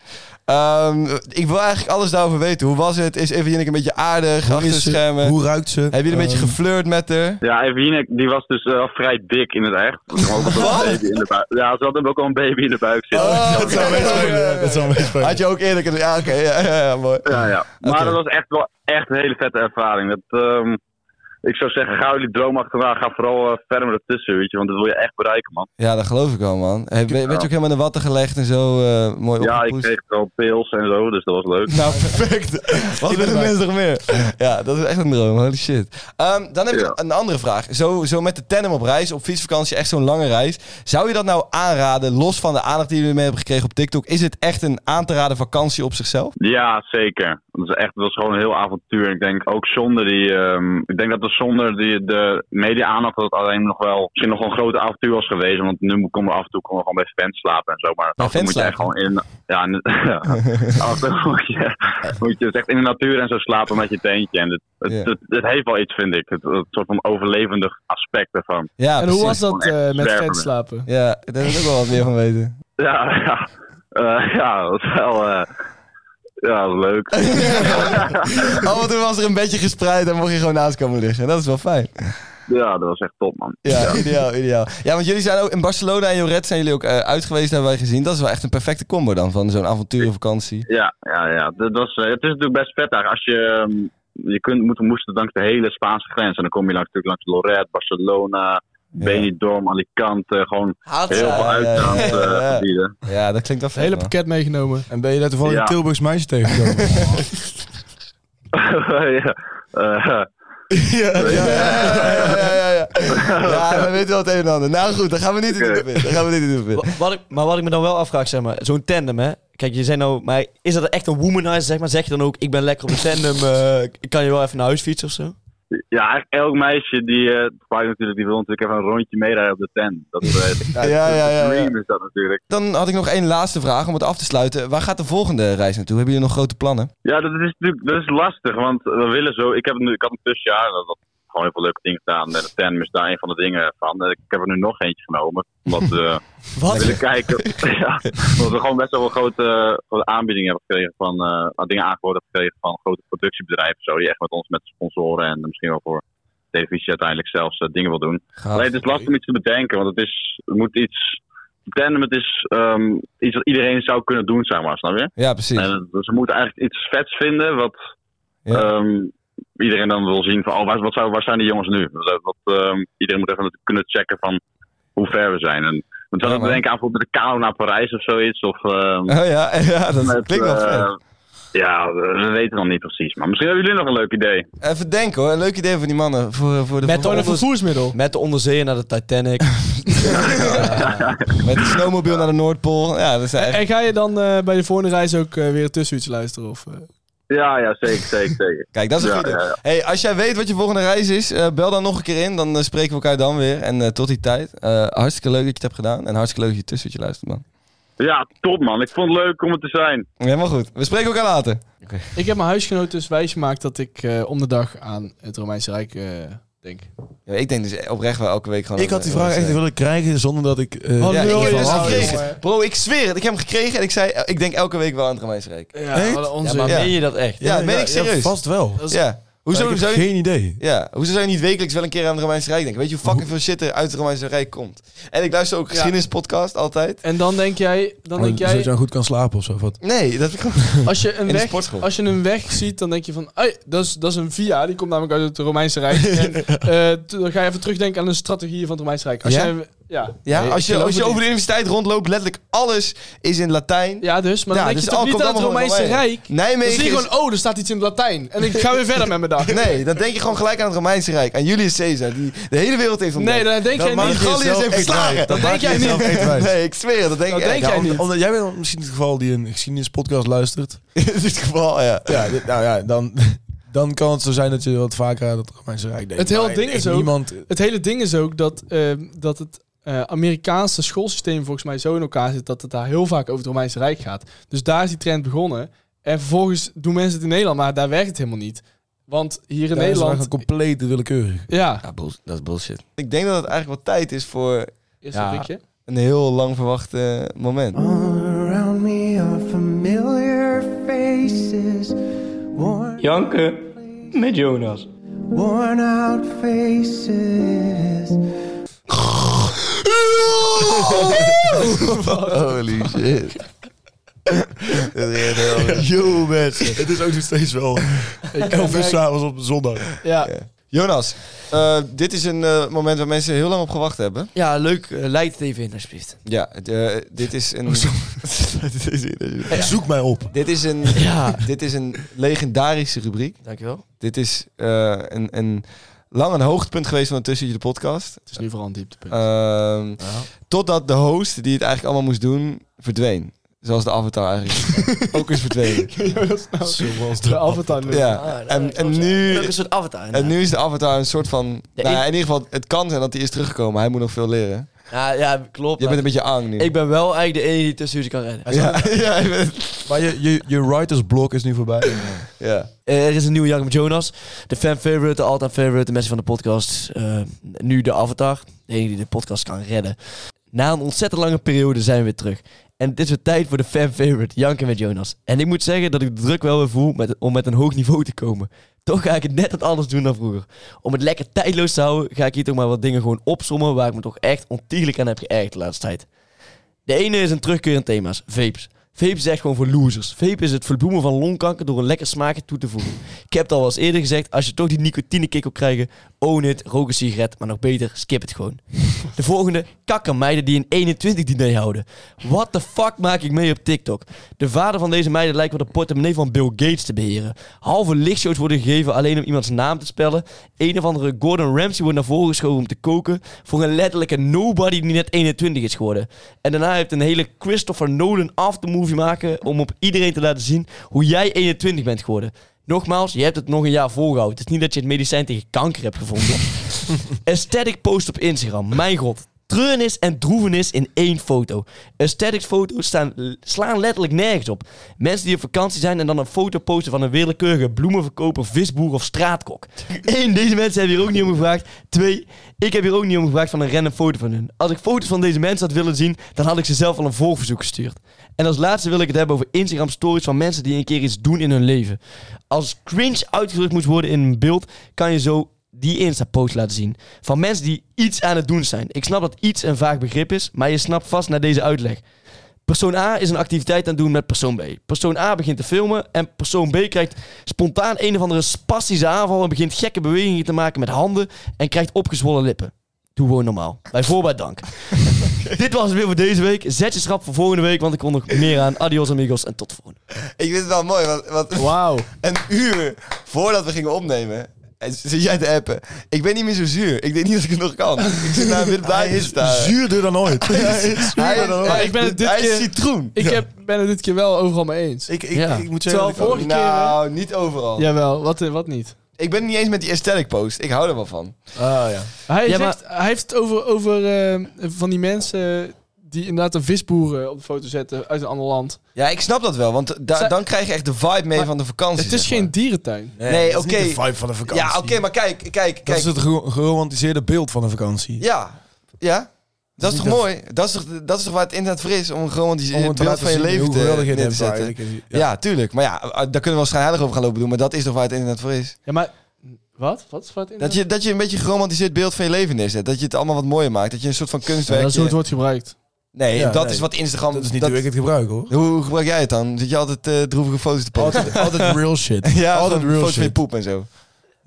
Ehm, ik wil eigenlijk alles daarover weten. Hoe was het? Is Eva Jinek een beetje aardig?
Hoe
achter de
is ze?
schermen?
Hoe ruikt ze? Ehm,
Hebben jullie een beetje geflirt met haar?
Ja, Evinek, die was dus eh, vrij dik in het echt. Maar ook wel een baby in de buik. Ja, ze had hem ook al een baby in de buik zitten.
dat zou
Dat is wel een beetje
Had je ook eerlijk kunnen... Ja, oké. ja, ja, ja, mooi.
Ja, ja. Maar
Oké.
dat was echt wel echt een hele vette ervaring. Dat, ehm, ik zou zeggen, ga jullie droom achterna. Ga vooral eh, verder ertussen, weet je. Want dat wil je echt bereiken, man.
Ja, dat geloof ik wel, man. Hey, ben, je ook helemaal in de watten gelegd en zo eh, mooi
Ja, ik
opgepoetst?
kreeg wel pils en zo, dus dat was leuk.
Nou, perfect. Wat willen mensen nog meer? Ja, dat is echt een droom. Holy shit. Ehm, dan heb ik
Ja.
een andere vraag. Zo, zo met de tandem op reis, op fietsvakantie, echt zo'n lange reis. Zou je dat nou aanraden, los van de aandacht die jullie mee hebben gekregen op TikTok? Is het echt een aan te raden vakantie op zichzelf?
Ja, zeker. Dat is echt, dat was gewoon een heel avontuur. Ik denk ook zonder die, ehm, ik denk dat we dat zonder die, de media-aandacht dat het alleen nog wel misschien nog wel een grote avontuur was geweest. Want nu komen we af en toe komen we gewoon bij fans slapen en zo. Maar af en toe
fans
moet je echt gewoon in. Ja, in- ja. af en toe moet je, moet je dus echt in de natuur en zo slapen met je teentje. En het, het,
Ja.
het, het heeft wel iets, vind ik. Het, het soort van overlevendig aspect ervan.
Ja,
en hoe
precies.
was dat
Gewoon
eh,
echt
met
zwerven.
vet slapen?
Ja, daar wil ik ook wel wat meer van weten.
Ja, ja. Eh, ja, dat is wel. eh, ja, leuk.
Oh, want toen was er een beetje gespreid en mocht je gewoon naast komen liggen. Dat is wel fijn.
Ja, dat was echt top, man.
Ja, ideaal, ideaal. Ja, want jullie zijn ook in Barcelona en Joret zijn jullie ook eh, uit geweest, hebben wij gezien. Dat is wel echt een perfecte combo dan, van zo'n avonturenvakantie.
Ja, ja, ja. Dat was, eh, het is natuurlijk best vet daar. Als je, ehm, je kunt, moet, moest langs de hele Spaanse grens. En dan kom je langs- natuurlijk langs Lorette, Barcelona, Benidorm, Alicante. Gewoon heel veel eh,
ja, ja, ja, ja, ja.
uitgaangebieden.
Ja, dat klinkt wel
Het
vet,
hele
man.
pakket meegenomen.
En ben je daar toevallig
Ja.
een Tilburgs meisje tegengekomen?
ja, eh,
Ja, ja, ja, ja. Ja, we weten wel het een en ander. Nou goed, daar gaan we niet in de diep in. Daar gaan we niet in de diep in.
Wa- Wat ik, maar wat ik me dan wel afvraag, zeg maar, zo'n tandem, hè? Kijk, je zei nou, maar is dat echt een womanizer, zeg maar? Zeg je dan ook, ik ben lekker op een tandem, eh, ik kan je wel even naar huis fietsen of zo?
ja, eigenlijk elk meisje die, eh gebruikt natuurlijk, die wil natuurlijk even een rondje meerijden op de tent. Dat is
Ja, ja, ja, ja.
dream is dat natuurlijk.
Dan had ik nog één laatste vraag om het af te sluiten. Waar gaat de volgende reis naartoe? Hebben jullie nog grote plannen?
Ja, dat is natuurlijk dat is lastig, want we willen zo. Ik, heb nu, ik had een tussenjaar dat, dat gewoon heel veel leuke dingen gedaan. En de tandem is daar een van de dingen van. Ik heb er nu nog eentje genomen. Omdat eh, we willen kijken. ja, omdat we gewoon best wel een grote, eh, grote aanbiedingen hebben gekregen van eh, dingen aangeboden hebben gekregen van grote productiebedrijven. Zo, die echt met ons met sponsoren en misschien wel voor televisie uiteindelijk zelfs eh, dingen wil doen.
Gaaf.
Alleen het is lastig om iets te bedenken, want het is het moet iets. Tandem, het is ehm, iets wat iedereen zou kunnen doen, zeg maar, snap je?
Ja, precies.
En het- ze moeten eigenlijk iets vets vinden wat
Ja.
ehm, iedereen dan wil zien van, oh, waar, wat zou, waar zijn die jongens nu? Wat, wat, ehm, iedereen moet even kunnen checken van hoe ver we zijn. En we
Ja,
zouden
man.
denken aan bijvoorbeeld de Kano naar Parijs of zoiets. Of, ehm,
Oh ja, ja dat
met,
klinkt wel
eh,
vet.
Ja, we, we weten nog niet precies. Maar misschien hebben jullie nog een leuk idee.
Even denken hoor, een leuk idee van die mannen. Voor, voor de
Met
voor-
Gewoon een vervoersmiddel.
Met de onderzeeën naar de Titanic.
met de snowmobile naar de Noordpool. Ja, dat is echt...
En ga je dan eh, bij de volgende reis ook eh, weer een tussenuitje luisteren? Of, eh?
Ja, ja, zeker, zeker, zeker.
Kijk, dat is een
Ja,
goede.
ja, ja.
Hey, als jij weet wat je volgende reis is, eh, bel dan nog een keer in. Dan eh, spreken we elkaar dan weer. En eh, tot die tijd, eh, hartstikke leuk dat je het hebt gedaan. En hartstikke leuk dat je tussen je luistert, man.
Ja, top man. Ik vond het leuk om het te zijn.
Helemaal goed. We spreken elkaar later.
Ik heb mijn huisgenoot dus wijsgemaakt dat ik eh, om de dag aan het Romeinse Rijk eh, denk.
Ja, ik denk dus oprecht wel elke week gewoon...
ik had die
eh,
vraag echt
eh,
willen krijgen zonder dat ik... eh,
Oh,
Ja, ik
Lul,
heb
je
hem dus
zou-
gekregen.
jongen.
Bro, ik zweer het. Ik heb hem gekregen en ik zei, eh, ik denk elke week wel aan het Romeinse Rijk.
Ja, wat een
Ja,
onzin.
maar
Ja.
meen je dat echt?
Ja, dat meen ik serieus.
vast wel.
is-
Ja. Hoezo,
ik heb
zou je,
geen idee.
ja. Hoezo zou je niet wekelijks wel een keer aan het Romeinse Rijk denken? Weet je hoe fucking veel shit er uit het Romeinse Rijk komt? En ik luister ook geschiedenispodcast altijd.
En dan denk jij,
Oh,
dan denk
Zodat je
jij
dan goed kan slapen of zo. Wat?
Nee, dat heb ik gewoon...
als, je een
de
weg,
sportschool.
als je een weg ziet, dan denk je van, "Ai, dat, is, dat is een via, die komt namelijk uit het Romeinse Rijk. en, eh, t- dan ga je even terugdenken aan de strategieën van het Romeinse Rijk. Als
Ja?
jij- ja.
Ja,
Nee,
als
ik
je,
geloof
als je
het
over de universiteit rondloopt, letterlijk alles is in Latijn.
Ja, dus, maar dan
Ja,
denk
dus
je toch
al-
niet
komt
aan het
allemaal
Romeinse
Romeinen.
Rijk?
Nijmegen
Dan zie je
is-
gewoon, oh, er staat iets in het Latijn. En ik ga weer verder met mijn dag.
Nee, dan denk je gewoon gelijk aan het Romeinse Rijk. Aan Julius Caesar, die de hele wereld heeft ontdekt.
Nee, dan denk jij
maakt
niet.
Galliërs
jezelf
heeft
echt
verslagen.
wijs. Dat
denk
maakt
jij
jezelf echt
niet.
wijs.
Nee, ik zweer het. Dat denk
Dat
ik echt.
denk jij
Ja,
niet.
Omdat, omdat jij bent misschien het geval die een geschiedenispodcast luistert.
In dit geval, ja.
Ja, dit- nou ja, dan, dan kan het zo zijn dat je wat vaker aan het Romeinse Rijk denkt.
Het hele
Maar
ding
echt
is ook-
Niemand,
Het hele ding is ook dat, ehm, dat het eh, Amerikaanse schoolsysteem volgens mij zo in elkaar zit dat het daar heel vaak over het Romeinse Rijk gaat. Dus daar is die trend begonnen. En vervolgens doen mensen het in Nederland, maar daar werkt het helemaal niet. Want hier in
Ja, Dat is
Nederland.
eigenlijk compleet willekeurig.
Ja,
dat is bullshit. Ik denk dat het eigenlijk wel tijd is voor
eerst
Ja.
een prikje.
een heel lang verwacht eh, moment.
Janken met Jonas.
Holy shit.
Yo mensen, het is ook nog steeds wel 11 uur s'avonds op zondag.
Ja.
Jonas, eh, dit is een eh, moment waar mensen heel lang op gewacht hebben.
Ja, leuk. eh, leid het even in, alsjeblieft.
Ja, het, eh, dit is een. dit is een-
Zoek mij op.
Dit is een, dit is een legendarische rubriek.
Dankjewel.
Dit is eh, een, een lang een hoogtepunt geweest van de Tussentje de podcast.
Het is nu vooral een dieptepunt.
Ehm, Totdat de host die het eigenlijk allemaal moest doen, verdween. Zoals de avatar eigenlijk. ook is verdwenen.
Zoals
De avatar.
Ja,
Ah,
en,
dat-
en,
dat
nu,
is een soort avatar.
en nu is de avatar een soort van...
Ja,
nou,
ik-
in ieder geval, het kan zijn dat hij is teruggekomen. Hij moet nog veel leren.
Ja, ja klopt.
Je bent
maar
een beetje ang nu.
Ik ben wel eigenlijk de enige die tussen jullie kan redden.
ja, ja, je bent-
Maar je, je, je writers blok is nu voorbij.
ja.
Eh, Er is een nieuwe Jacob Jonas. De fan favorite, de all-time favorite, de mensen van de podcast. Eh, nu de avatar. De enige die de podcast kan redden. Na een ontzettend lange periode zijn we weer terug. En het is weer tijd voor de fan favorite, Janken met Jonas. En ik moet zeggen dat ik de druk wel weer voel met, om met een hoog niveau te komen. Toch ga ik het net wat anders doen dan vroeger. Om het lekker tijdloos te houden, ga ik hier toch maar wat dingen gewoon opsommen waar ik me toch echt ontiegelijk aan heb geërgerd de laatste tijd. De ene is een terugkeer in thema's. Vapes. Vape is echt gewoon voor losers. Vape is het verbloemen van longkanker door een lekker smaakje toe te voegen. Ik heb het al wel eens eerder gezegd, als je toch die nicotinekick wil krijgen, own it, rook een sigaret, maar nog beter, skip het gewoon. De volgende, kakkermeiden die een 21 diner houden. What the fuck maak ik mee op TikTok? De vader van deze meiden lijkt wel de portemonnee van Bill Gates te beheren. Halve lichtshows worden gegeven alleen om iemands naam te spellen. Een of andere Gordon Ramsay wordt naar voren geschoven om te koken voor een letterlijke nobody die net 21 is geworden. En daarna heeft een hele Christopher Nolan aftermovie maken om op iedereen te laten zien hoe jij 21 bent geworden. Nogmaals, je hebt het nog een jaar volgehouden. Het is niet dat je het medicijn tegen kanker hebt gevonden. Aesthetic post op Instagram. Mijn god. Treurnis en droevenis in één foto. Aesthetics foto's staan, slaan letterlijk nergens op. Mensen die op vakantie zijn en dan een foto posten van een willekeurige bloemenverkoper, visboer of straatkok. Eén, deze mensen hebben hier ook niet om gevraagd. Twee, ik heb hier ook niet om gevraagd van een random foto van hun. Als ik foto's van deze mensen had willen zien, dan had ik ze zelf al een volgverzoek gestuurd. En als laatste wil ik het hebben over Instagram stories van mensen die een keer iets doen in hun leven. Als cringe uitgedrukt moet worden in een beeld, kan je zo die Insta-post laten zien. Van mensen die iets aan het doen zijn. Ik snap dat iets een vaag begrip is, maar je snapt vast naar deze uitleg. Persoon A is een activiteit aan het doen met persoon B. Persoon A begint te filmen en persoon B krijgt spontaan een of andere spastische aanval en begint gekke bewegingen te maken met handen en krijgt opgezwollen lippen. Doe gewoon normaal. Bij voorbaat dank. Dit was het weer voor deze week. Zet je schrap voor volgende week, want ik kon nog meer aan. Adios amigos en tot volgende.
Ik vind het wel mooi, want, want
Wauw.
een uur voordat we gingen opnemen, en z- zit jij te appen. Ik ben niet meer zo zuur. Ik denk niet dat ik het nog kan. Ik zit naar een wit blaadje te staren.
Zuurder dan ooit.
Hij is-
Maar
hij-
ik ben het dit
Hij is
keer-
citroen.
Ik heb, ben het dit keer wel overal mee eens.
Ik, ik,
Ja.
ik moet zeggen...
Terwijl
dat ik ook-
vorige keer... hè?
Nou, niet overal.
Jawel, wat, wat niet.
Ik ben het niet eens met die aesthetic post. Ik hou er wel van.
Ah, ja.
Hij,
Ja,
zegt- hij heeft het over, over eh, van die mensen die inderdaad een visboer eh, op de foto zetten uit een ander land.
Ja, ik snap dat wel, want da-
Zij-
dan krijg je echt de vibe mee
Maar
van de vakantie.
Het is
zeg
geen
maar.
dierentuin.
Nee,
Nee,
dat is
oké.
niet de vibe van een vakantie.
Ja, oké, maar kijk, kijk,
Dat
kijk.
is het gero- geromantiseerde beeld van een vakantie.
Ja, ja. Dat is
niet
toch
dat-
mooi? Dat is toch, dat is toch waar het internet voor is? Om gewoon die
Om het
beeld
te laten
van je
zien
leven
hoe
te,
geweldig je
neer
het
te
hebt
zetten.
eigenlijk.
Ja. tuurlijk. Maar ja, eh, daar kunnen we wel schijnheilig over gaan lopen doen. Maar dat is toch waar het internet voor is.
Ja, maar... Wat? Wat is wat in
Dat je, dat je een beetje een geromantiseerd beeld van je leven neerzet. Dat je het allemaal wat mooier maakt. Dat je een soort van kunstwerk...
dat is hoe het wordt gebruikt.
Nee,
Ja,
dat
nee.
is wat Instagram...
Dat is niet hoe ik het gebruik, hoor.
Hoe gebruik jij het dan? Zit je altijd eh, droevige foto's te posten?
Altijd, altijd real shit.
ja,
altijd
gewoon
real
foto's van je
shit.
poep en zo.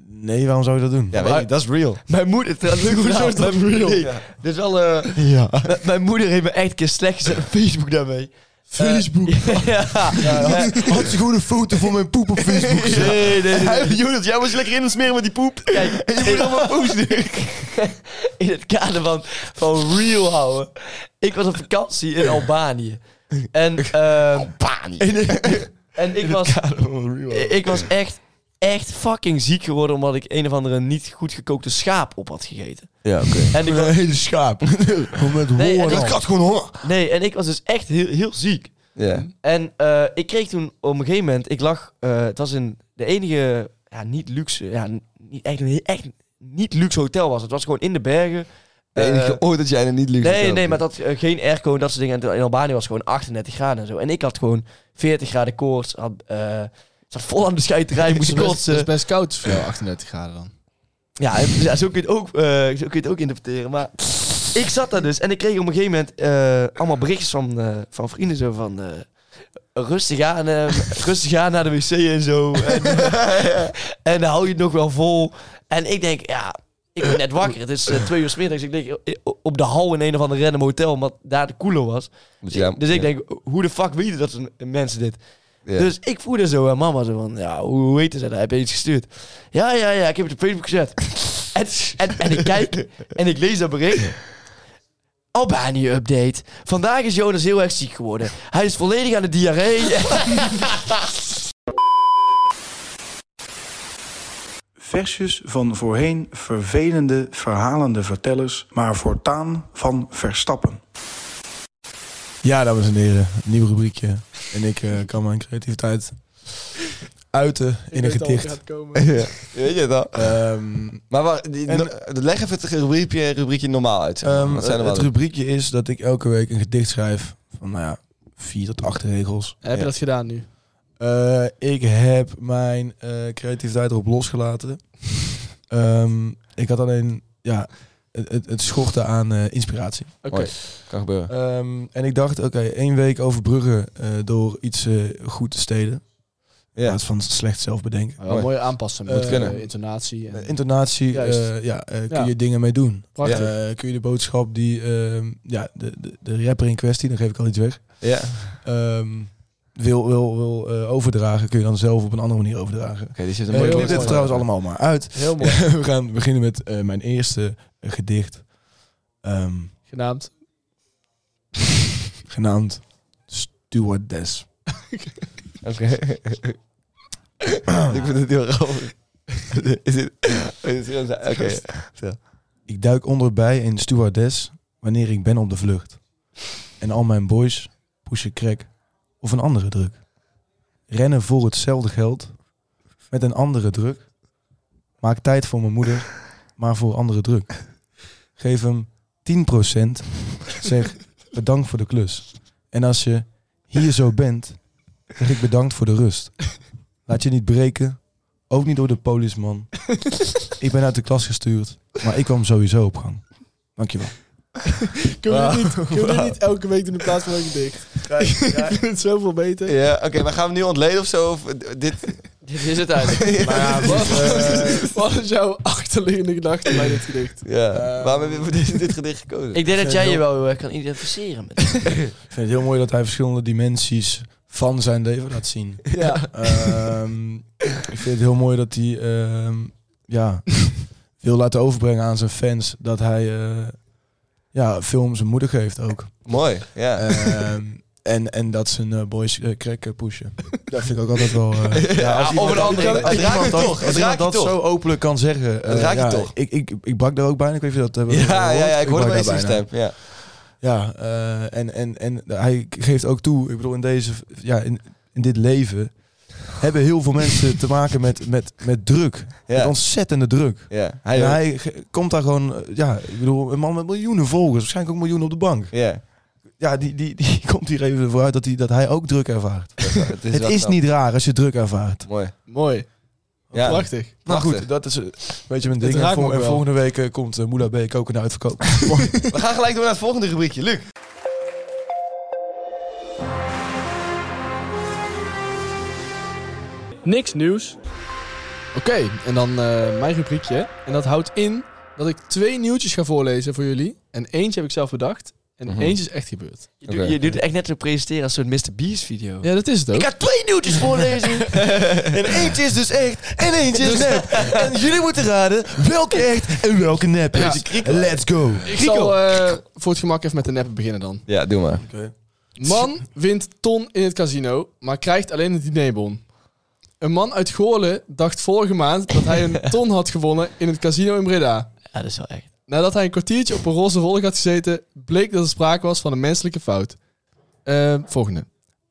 Nee, waarom zou je dat doen?
Ja, weet je, dat is real.
Mijn moeder... Hoezo is dat real? Dit is wel... eh,
Ja.
M- mijn moeder heeft me echt een keer slecht gezet op Facebook daarmee.
Facebook.
ja.
eh, Had ze gewoon een foto van mijn poep op Facebook gezet?
Nee, nee, nee.
Jonas, jij was je lekker in het smeren met die poep.
Kijk,
En je moet allemaal poep
in het kader van, van real houden. Ik was op vakantie in Albanië. En, ehm, en ik was...
Oh,
Ik was echt, echt fucking ziek geworden omdat ik een of andere niet goed gekookte schaap op had gegeten.
Ja, oké.
En ik was,
Een hele schaap. Gewoon Met
Nee, en
horen.
dat
had gewoon hoor.
nee, en ik was dus echt heel, heel ziek.
Ja.
En eh, ik kreeg toen op een gegeven moment, ik lag, eh, het was in de enige, ja, niet luxe, ja, n- niet, echt, een- echt niet luxe hotel was. Het was gewoon in de bergen.
De enige
Eh,
ooit dat jij er niet lukt.
nee, nee, maar dat eh, geen airco en dat soort dingen. En in Albanië was het gewoon 38 graden en zo. En ik had gewoon 40 graden koorts, had, eh, zat vol aan de scheiterij, moest
Dat is best, dat is
kotsen.
best koud voor jou, 38 graden dan.
Ja, en- ja, zo kun je het ook, eh, zo kun je het ook interpreteren. Maar ik zat daar dus en ik kreeg op een gegeven moment eh, allemaal berichtjes van, eh, van vrienden zo van... eh, Rustig aan, eh, rustig aan naar de wc en zo. En, eh, en dan hou je het nog wel vol. En ik denk, ja, ik ben net wakker. Het is eh, twee uur 's middags. Ik denk eh, op de hal in een of ander random hotel, omdat daar de koeler was. Dus ik denk, hoe de fuck weten dat ze mensen dit?
Ja.
Dus ik voelde zo aan mama zo van, ja, hoe hoe weten ze dat? Heb je iets gestuurd? Ja, ja, ja, ik heb het op Facebook gezet. en, en, en ik kijk en ik lees dat bericht. Albanië-update. Vandaag is Jonas heel erg ziek geworden. Hij is volledig aan de diarree.
Versjes van voorheen vervelende, verhalende vertellers, maar voortaan van Verstappen.
Ja, dames en heren. Nieuw rubriekje. En ik eh, kan mijn creativiteit uiten in een
weet al wat
gedicht.
gaat komen.
Ja, Weet je dat?
Ehm,
Maar wacht, die-
En-
no- leg even het rubriekje, rubriekje normaal uit. zeg maar.
ehm,
Wat zijn er
het
wel?
rubriekje is dat ik elke week een gedicht schrijf van nou ja, vier tot acht regels.
Heb je dat gedaan nu?
Eh, ik heb mijn eh, creativiteit erop losgelaten. Ehm, ik had alleen, ja, het, het, het schortte aan eh, inspiratie.
Oké.
Mooi. Kan gebeuren.
Ehm, en ik dacht, oké, één week overbruggen eh, door iets eh, goed te steden. In
Ja.
plaats van slecht zelf bedenken.
Oh,
Wel mooi aanpassen. Moet
Eh,
kunnen. Intonatie. En
Eh, intonatie,
Juist.
eh, ja, eh, kun
Ja.
je dingen mee doen.
Prachtig.
Eh, kun je de boodschap die, ehm, ja, de, de, de rapper in kwestie, dan geef ik al iets weg,
Ja.
ehm, wil, wil, wil eh, overdragen, kun je dan zelf op een andere manier overdragen.
Oké, die zit een
Eh, Ik
mooi
knip
woord.
dit trouwens allemaal maar uit.
Heel mooi.
We gaan beginnen met eh, mijn eerste eh, gedicht. Ehm,
Genaamd.
genaamd Stewardess.
Oké. Ik vind het heel grappig. Is dit... is dit- Oké.
Ik duik onderbij een stewardess wanneer ik ben op de vlucht. En al mijn boys pushen crack of een andere druk. Rennen voor hetzelfde geld met een andere druk. Maak tijd voor mijn moeder, maar voor andere druk. Geef hem 10%. Zeg bedankt voor de klus. En als je hier zo bent, zeg ik bedankt voor de rust. Laat je niet breken, ook niet door de polisman. Ik ben uit de klas gestuurd, maar ik kwam sowieso op gang. Dankjewel.
Kunnen we dit niet, kunnen we dit niet elke week doen in plaats van een gedicht? Ik vind het zoveel beter.
Ja, oké, maar gaan we hem nu ontleden of zo? Of dit...
Dit is het eigenlijk.
Wat, wat is jouw achterliggende gedachte bij dit gedicht?
Ja. Waarom hebben we voor dit, dit gedicht gekozen?
Ik denk dat jij je wel heel erg kan identificeren met
Ik vind het heel mooi dat hij verschillende dimensies van zijn leven laat zien.
Ja.
Ehm, ik vind het heel mooi dat hij ehm, ja, wil laten overbrengen aan zijn fans dat hij eh, ja, film zijn moeder geeft ook.
Mooi, ja.
Ehm, en, en dat zijn eh, boys eh, crack eh, pushen. Dat vind ik ook altijd wel. eh, ja, als iemand-
of een andere.
als
Het raakt
iemand
je
dat-
toch, het
Als iemand
raakt je
dat
toch.
zo openlijk kan zeggen. eh,
Het raakt je
ja,
toch.
Ik, ik, ik brak daar ook bijna. Ik weet niet of je dat eh, hebben
ja, ja, ja, ik hoorde
brak
bij
daar
zijn
bijna.
stem. Ja.
Ja, eh, en, en, en hij geeft ook toe, ik bedoel, in, deze, ja, in, in dit leven hebben heel veel mensen te maken met, met, met druk. Met
Ja.
ontzettende druk.
Ja.
En
Hij ook.
hij ge- komt daar gewoon, eh, ja, ik bedoel, een man met miljoenen volgers, waarschijnlijk ook miljoenen op de bank.
Ja.
Ja, die, die, die komt hier even vooruit dat, die, dat hij ook druk ervaart.
Het
het
wel
is
knap.
niet raar als je druk ervaart.
Mooi.
Mooi.
Ja.
Prachtig.
Maar
Prachtig.
goed, dat is eh, een beetje mijn ding.
raakt
En, vol-
me ook
en
wel.
volgende week eh, komt eh, Moula B. ook een uitverkoop.
We gaan gelijk door naar het volgende rubriekje. Luc.
Niks nieuws. Oké, en dan eh, mijn rubriekje. En dat houdt in dat ik twee nieuwtjes ga voorlezen voor jullie. En eentje heb ik zelf bedacht. En eentje is echt gebeurd.
Je, doet- je doet het echt net zo presenteren als zo'n Mr. Beast video.
Ja, dat is het ook.
Ik ga twee nieuwtjes voorlezen.
En eentje is dus echt en eentje is nep. En jullie moeten raden welke echt en welke nep is. Let's go.
Ik zal eh, voor het gemak even met de neppen beginnen dan.
Ja, doe maar.
Man wint ton in het casino, maar krijgt alleen een dinerbon. Een man uit Goorlen dacht vorige maand dat hij een ton had gewonnen in het casino in Breda.
Ja, dat is wel echt.
Nadat hij een kwartiertje op een roze wolk had gezeten, bleek dat er sprake was van een menselijke fout. Eh, volgende.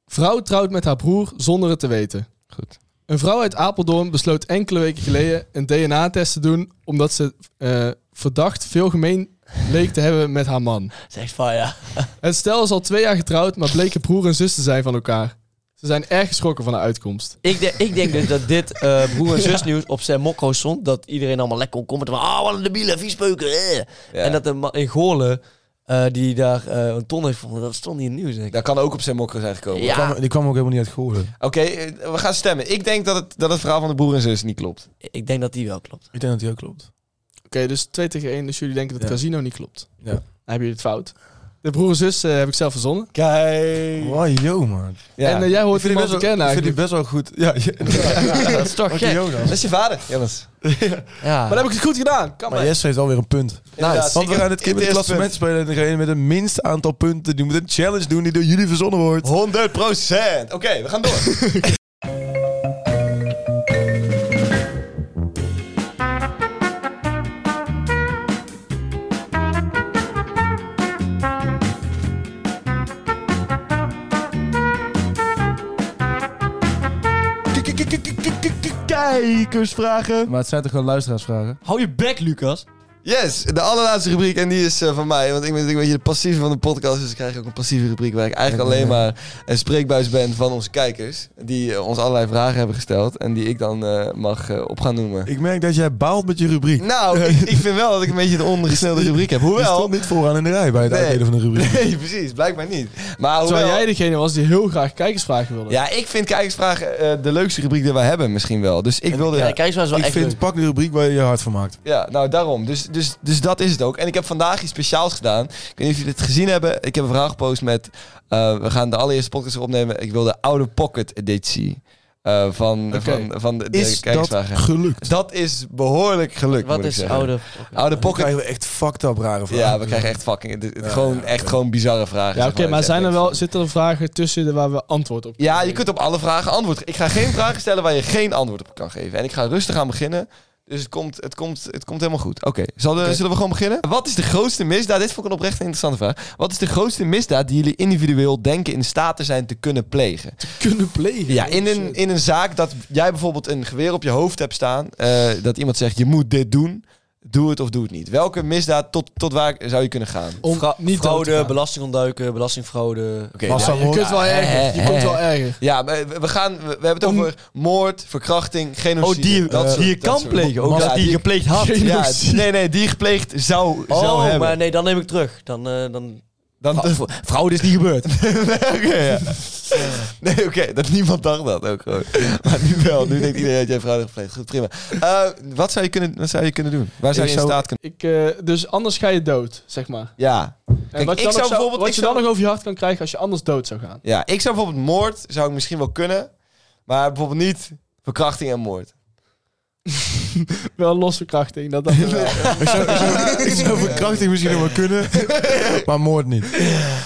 Vrouw trouwt met haar broer zonder het te weten.
Goed.
Een vrouw uit Apeldoorn besloot enkele weken geleden een DNA-test te doen omdat ze eh, verdacht veel gemeen leek te hebben met haar man.
Dat is echt fire.
Het stel is al twee jaar getrouwd, maar bleken broer en zus te zijn van elkaar. Ze zijn erg geschrokken van de uitkomst.
Ik, de- ik denk dus dat dit eh, broer en zus nieuws op zijn mokko stond. Dat iedereen allemaal lekker kon commenten. van, Ah, wat een debiele, viespeuken. eh."
Ja.
En dat de man in Goorlen, eh, die daar eh, een ton heeft gevonden, dat stond niet in het nieuws. Denk ik.
Dat kan ook op zijn mokker zijn gekomen.
Die,
Ja,
kwam, die kwam ook helemaal niet uit Goorlen.
Oké, eh, we gaan stemmen. Ik denk dat het, dat het verhaal van de broer en zus niet klopt.
ik denk dat die wel klopt.
Ik denk dat die ook klopt.
Oké, dus 2 tegen 1, dus jullie denken dat
Ja.
het casino niet klopt.
Ja.
Dan hebben jullie het fout. De broer en zus eh, heb ik zelf verzonnen.
Kijk.
Wow, yo, man.
En eh, jij hoort
Ik vind die best
iemand te
wel-
kennen
Ik vind die
eigenlijk.
best wel goed. Ja,
dat is toch
Fucking
gek.
Jonas.
Dat is je vader, Jonas.
Ja.
Maar dan heb ik het goed gedaan. Kan
Maar
maar.
Jesse heeft alweer een punt.
Inderdaad.
Want we gaan dit keer
Het
met het
eerste
klassement spelen. En degene met het minste aantal punten, die moet een challenge doen die door jullie verzonnen wordt.
100 Oké, we gaan door. Kijkersvragen.
Maar het zijn toch gewoon luisteraarsvragen?
Hou je bek, Lucas.
Yes, de allerlaatste rubriek en die is eh, van mij. Want ik ben natuurlijk een beetje de passieve van de podcast. Dus ik krijg ook een passieve rubriek waar ik eigenlijk alleen maar een spreekbuis ben van onze kijkers. Die eh, ons allerlei vragen hebben gesteld en die ik dan eh, mag eh, op gaan noemen.
Ik merk dat jij baalt met je rubriek.
Nou, ik, ik vind wel dat ik een beetje de ondergesnelde rubriek heb.
Je
Hoewel...
stond niet vooraan in de rij bij het
Nee.
uitdelen van de rubriek.
Nee, precies. Blijkbaar niet. Maar
Terwijl
hoewel...
jij degene was die heel graag kijkersvragen wilde.
Ja, ik vind kijkersvragen eh, de leukste rubriek die wij hebben misschien wel. Dus ik wilde...
Ja, kijk eens waar ze wel
Ik
echt
vind,
leuk.
pak de rubriek waar je je hart van maakt.
Ja, nou daarom. Dus, dus, dus dat is het ook. En ik heb vandaag iets speciaals gedaan. Ik weet niet of jullie het gezien hebben. Ik heb een vraag gepost met... eh, we gaan de allereerste podcast opnemen. Ik wil de oude pocket editie eh, van, van, van de, de
Is dat
kijkersvragen. Dat...
gelukt?
is behoorlijk gelukt,
Wat
moet ik
is
zeggen.
oude...
Oude
Dan
pocket...
krijgen we echt fucked up rare vragen.
Ja, we krijgen echt fucking... het- het- gewoon, echt gewoon bizarre vragen.
Ja,
zeg
oké, maar
Het is
zijn
echt
er
niks.
wel, zitten er vragen tussen de- waar we antwoord op
Ja,
kunnen
je kunt op alle vragen antwoord. Ik ga geen vragen stellen waar je geen antwoord op kan geven. En ik ga rustig aan beginnen. Dus het komt, het komt, het komt helemaal goed. Oké, zal de- zullen we gewoon beginnen? Wat is de grootste misdaad? Dit vond ik een oprecht interessante vraag. Wat is de grootste misdaad die jullie individueel denken in staat te zijn te kunnen plegen?
kunnen plegen.
Ja, in een, in een zaak dat jij bijvoorbeeld een geweer op je hoofd hebt staan. eh, dat iemand zegt, je moet dit doen. Doe het of doe het niet. Welke misdaad tot, tot waar zou je kunnen gaan?
Om
Fra-
niet dood te
fraude,
gaan.
belastingontduiken, belastingfraude.
Oké,
Massa-
nou,
Je kunt wel erger. Je kunt wel erger.
ja, maar we, we gaan, we, we hebben het over moord, verkrachting, genocide.
Oh,
dat soort- dat soort-
Ook
Ja,
dat die je gepleegd had.
Ja, nee, nee, die gepleegd zou, zou
Oh,
hebben.
maar nee, dan neem ik terug. Dan, eh, dan...
Dan dus-
Fra- fra- fraude is niet gebeurd.
nee, oké, ja. nee, oké, dat niemand dacht dat ook gewoon. Maar nu wel, nu denkt iedereen dat jij vrouw hebt gepleegd. Goed, prima. Eh, wat, zou je kunnen, wat zou je kunnen doen? Waar zou
Ik
je in
zou-
staat kunnen...
Ik, eh, dus anders ga je dood, zeg maar.
Ja.
en
Kijk,
wat je,
ik
dan,
zou
nog zou-
bijvoorbeeld...
wat
ik
je dan
zou-
nog over je hart kan krijgen als je anders dood zou gaan.
Ja, ik zou bijvoorbeeld moord, zou ik misschien wel kunnen. Maar bijvoorbeeld niet verkrachting en moord.
Wel losse krachting. Dat dan wel.
Ik zou verkrachting misschien nog wel kunnen, maar moord niet.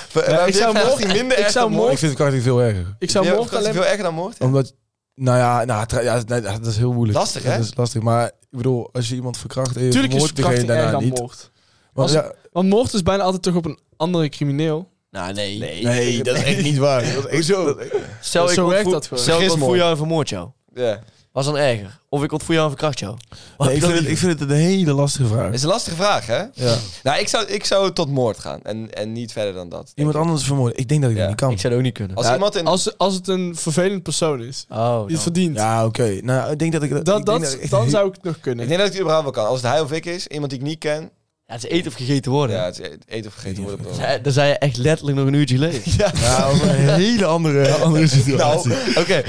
Ver-
ik
maar dit
zou
verkrachting
moord-
minder
ik
erg
zou
dan
moord-
Ik vind verkrachting veel erger.
Ik zou
Ja,
morgen
verkrachting
alleen
veel erger dan moord?
Omdat, nou ja, nou, tra- ja nee, dat is heel moeilijk.
Lastig, hè?
Dat is lastig, maar ik bedoel, als je iemand verkracht en je
Tuurlijk is
vermoordt degene
verkrachting erger
daarna
dan
niet.
moord.
Want
Als-
ja,
Want moord is bijna altijd toch op een andere crimineel.
Nou, nee.
nee, dat is echt niet waar. Dat is echt zo.
Stel,
Zo
ik
werkt
ontvoer-
dat gewoon.
Stel, ik
Gistmoord.
ontvoer jou en vermoord jou.
Ja.
Was dan erger. Of ik ontvoer jou en verkracht jou. Wat
Nee, ik,
wil
vind het,
je?
ik vind het een hele lastige vraag.
Dat is een lastige vraag, hè?
Ja.
Nou, ik zou, ik zou tot moord gaan. En, en niet verder dan dat. denk
Iemand
ik.
anders vermoorden. Ik denk dat ik
Ja,
dat niet kan.
Ik zou dat ook niet kunnen.
Als
Ja,
iemand in...
als, als het een vervelend persoon is.
Oh,
Die het
dan.
verdient.
Ja, oké. Nou, ik denk dat ik ik
dat,
denk
dat,
dat ik echt
dan
heel-
zou ik het nog kunnen.
Ik denk dat ik het überhaupt wel kan. Als het hij of ik is, iemand die ik niet ken.
Ja, het is eten of gegeten worden.
Ja, het is e- eten of vergeten worden. op dat moment.
Zij- Dan zijn je echt letterlijk nog een uurtje leeg.
Ja, over een hele andere, andere situatie.
Nou, oké.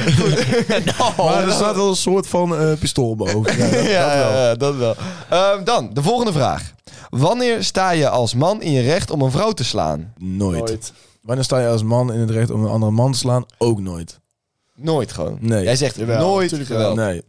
maar er staat wel een soort van eh, pistool boven. Ja, dat-
Ja,
dat Nou, wel.
ja, dat wel. Ehm, dan, de volgende vraag. Wanneer sta je als man in je recht om een vrouw te slaan?
Nooit.
Nooit.
Wanneer sta je als man in het recht om een andere man te slaan? Ook nooit.
Nooit gewoon.
Nee.
Jij zegt
Jawel,
nooit
natuurlijk
geweld.
Nee.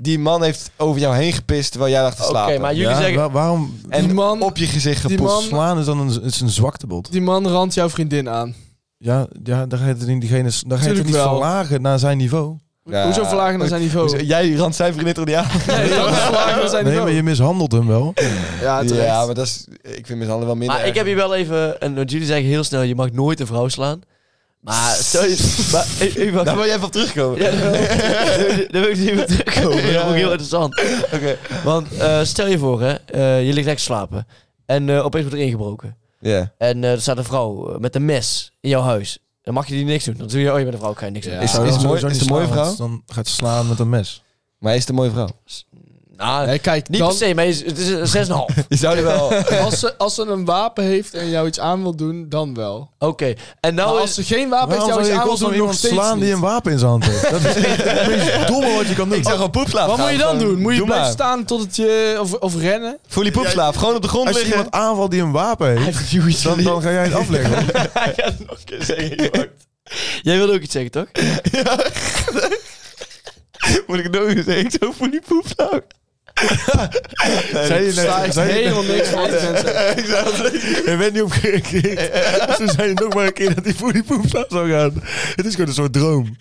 Die man heeft over jou heen gepist terwijl jij lag te
Oké,
slapen.
maar jullie
Ja,
zeggen...
wa- waarom?
En
Die man-
op je gezicht
die
gepoest.
man-
Slaan is dan een, is een zwaktebod.
Die man randt jouw vriendin aan.
Ja, ja, dan ga je het, niet- diegene, dan ga je het
Tuurlijk
niet
wel.
verlagen naar zijn niveau.
Ja.
Hoezo verlagen naar zijn niveau?
Hoezo- Jij randt zijn vriendin toch niet aan?
Nee, dat is verlagen naar zijn
Nee,
niveau.
maar je mishandelt hem wel.
Ja, terecht.
Ja, maar dat is... Ik vind mezelf wel minder
Maar ik
erg.
heb hier wel even... En, want jullie zeggen heel snel, je mag nooit een vrouw slaan. Maar stel je... maar, ik, ik
Daar
mag-
Nou,
wil jij even op terugkomen.
Ja, daar wil ik- daar wil ik niet meer terugkomen. Dat vond ik heel interessant.
Oké.
Want eh, stel je voor, hè, eh, je ligt lekker te slapen. En eh, opeens wordt er ingebroken.
Ja.
En eh, er staat een vrouw eh, met een mes in jouw huis. Dan mag je die niks doen. Dan doe je, oh je bent een vrouw, ik ga je niks doen.
Is-
Zou je
is
dan
mooi-
sowieso
is
niet
een mooie
slaan,
vrouw?
want Dan gaat ze slaan met een mes.
Maar is het een mooie vrouw?
Nou,
Nee, kijk,
niet
dan-
per se, maar is- het is een 6,5.
Je zou er wel...
als, ze, als ze een wapen heeft en jou iets aan wil doen, dan wel. Maar
Oké, en nou
als
is...
ze geen wapen heeft en jou iets aan wil doen, nog steeds
slaan die
niet.
een wapen in zijn hand heeft? Dat is echt het meest domme wat je kan doen.
Ik zou gewoon poepslaaf
Wat
gaan.
moet je dan
Gewoon,
doen? Moet je
doe
blijven
maar.
staan totdat je... Of, of rennen?
Fully poepslaaf. Gewoon op de grond
Als je
liggen.
iemand aanvalt die een wapen heeft, dan, dan ga jij het afleggen. hoor.
Hij gaat nog een keer zeggen, Jort. Jij wilde ook iets zeggen, toch?
Moet ik het nog eens zeggen? Ik zou fully poepslaaf.
Zei je
Sta
net,
ik
zei je,
helemaal niks van wat die mensen.
je bent niet op gereageerd. Ze zei nog maar een keer dat die voor die poepslaaf zou gaan. Het is gewoon een soort droom.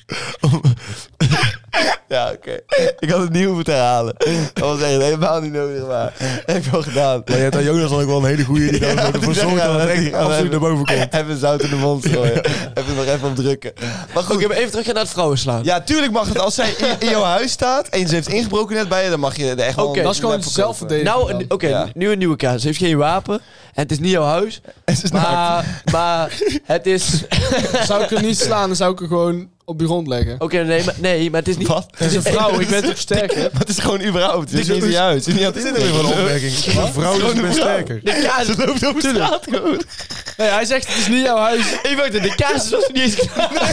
Ja, oké. Ik had het niet hoeven te herhalen. Dat was echt helemaal niet nodig, maar... Heb ik wel gedaan.
Maar je hebt aan Jonas dan ook wel een hele goeie die dan ervoor zorgt dat het echt absoluut naar boven komt.
nou, Even zout in de mond gooien. Even nog even op drukken. Maar goed,
Oké, maar even terug naar het vrouwen slaan.
ja, tuurlijk mag het. Als zij in, in jouw huis staat en ze heeft ingebroken net bij je, dan mag je er echt wel
Oké,
een
Dat is gewoon
lap voor kopen.
zelfverdediging.
Nou,
dan.
oké,
Ja.
nu een nieuwe kaas. Ze heeft geen wapen. En het is niet jouw huis.
Het is naakt.
Maar, maar het is... Oké,
Zou ik er niet slaan, dan zou ik er gewoon op de grond leggen.
nee, maar, nee, maar het is niet...
Wat?
Het is een vrouw, ik ben toch sterk, hè?
Maar het is gewoon überhaupt. Het is niet in je huis. Het is niet aan het
Dit is weer
inbreken.
wel een opmerking. Een vrouw is best sterker.
nou? De kaas... Ze loopt op straat gewoon.
Nee, hij zegt, het is niet jouw huis.
Ik weet het, de kaas was niet eens klaar.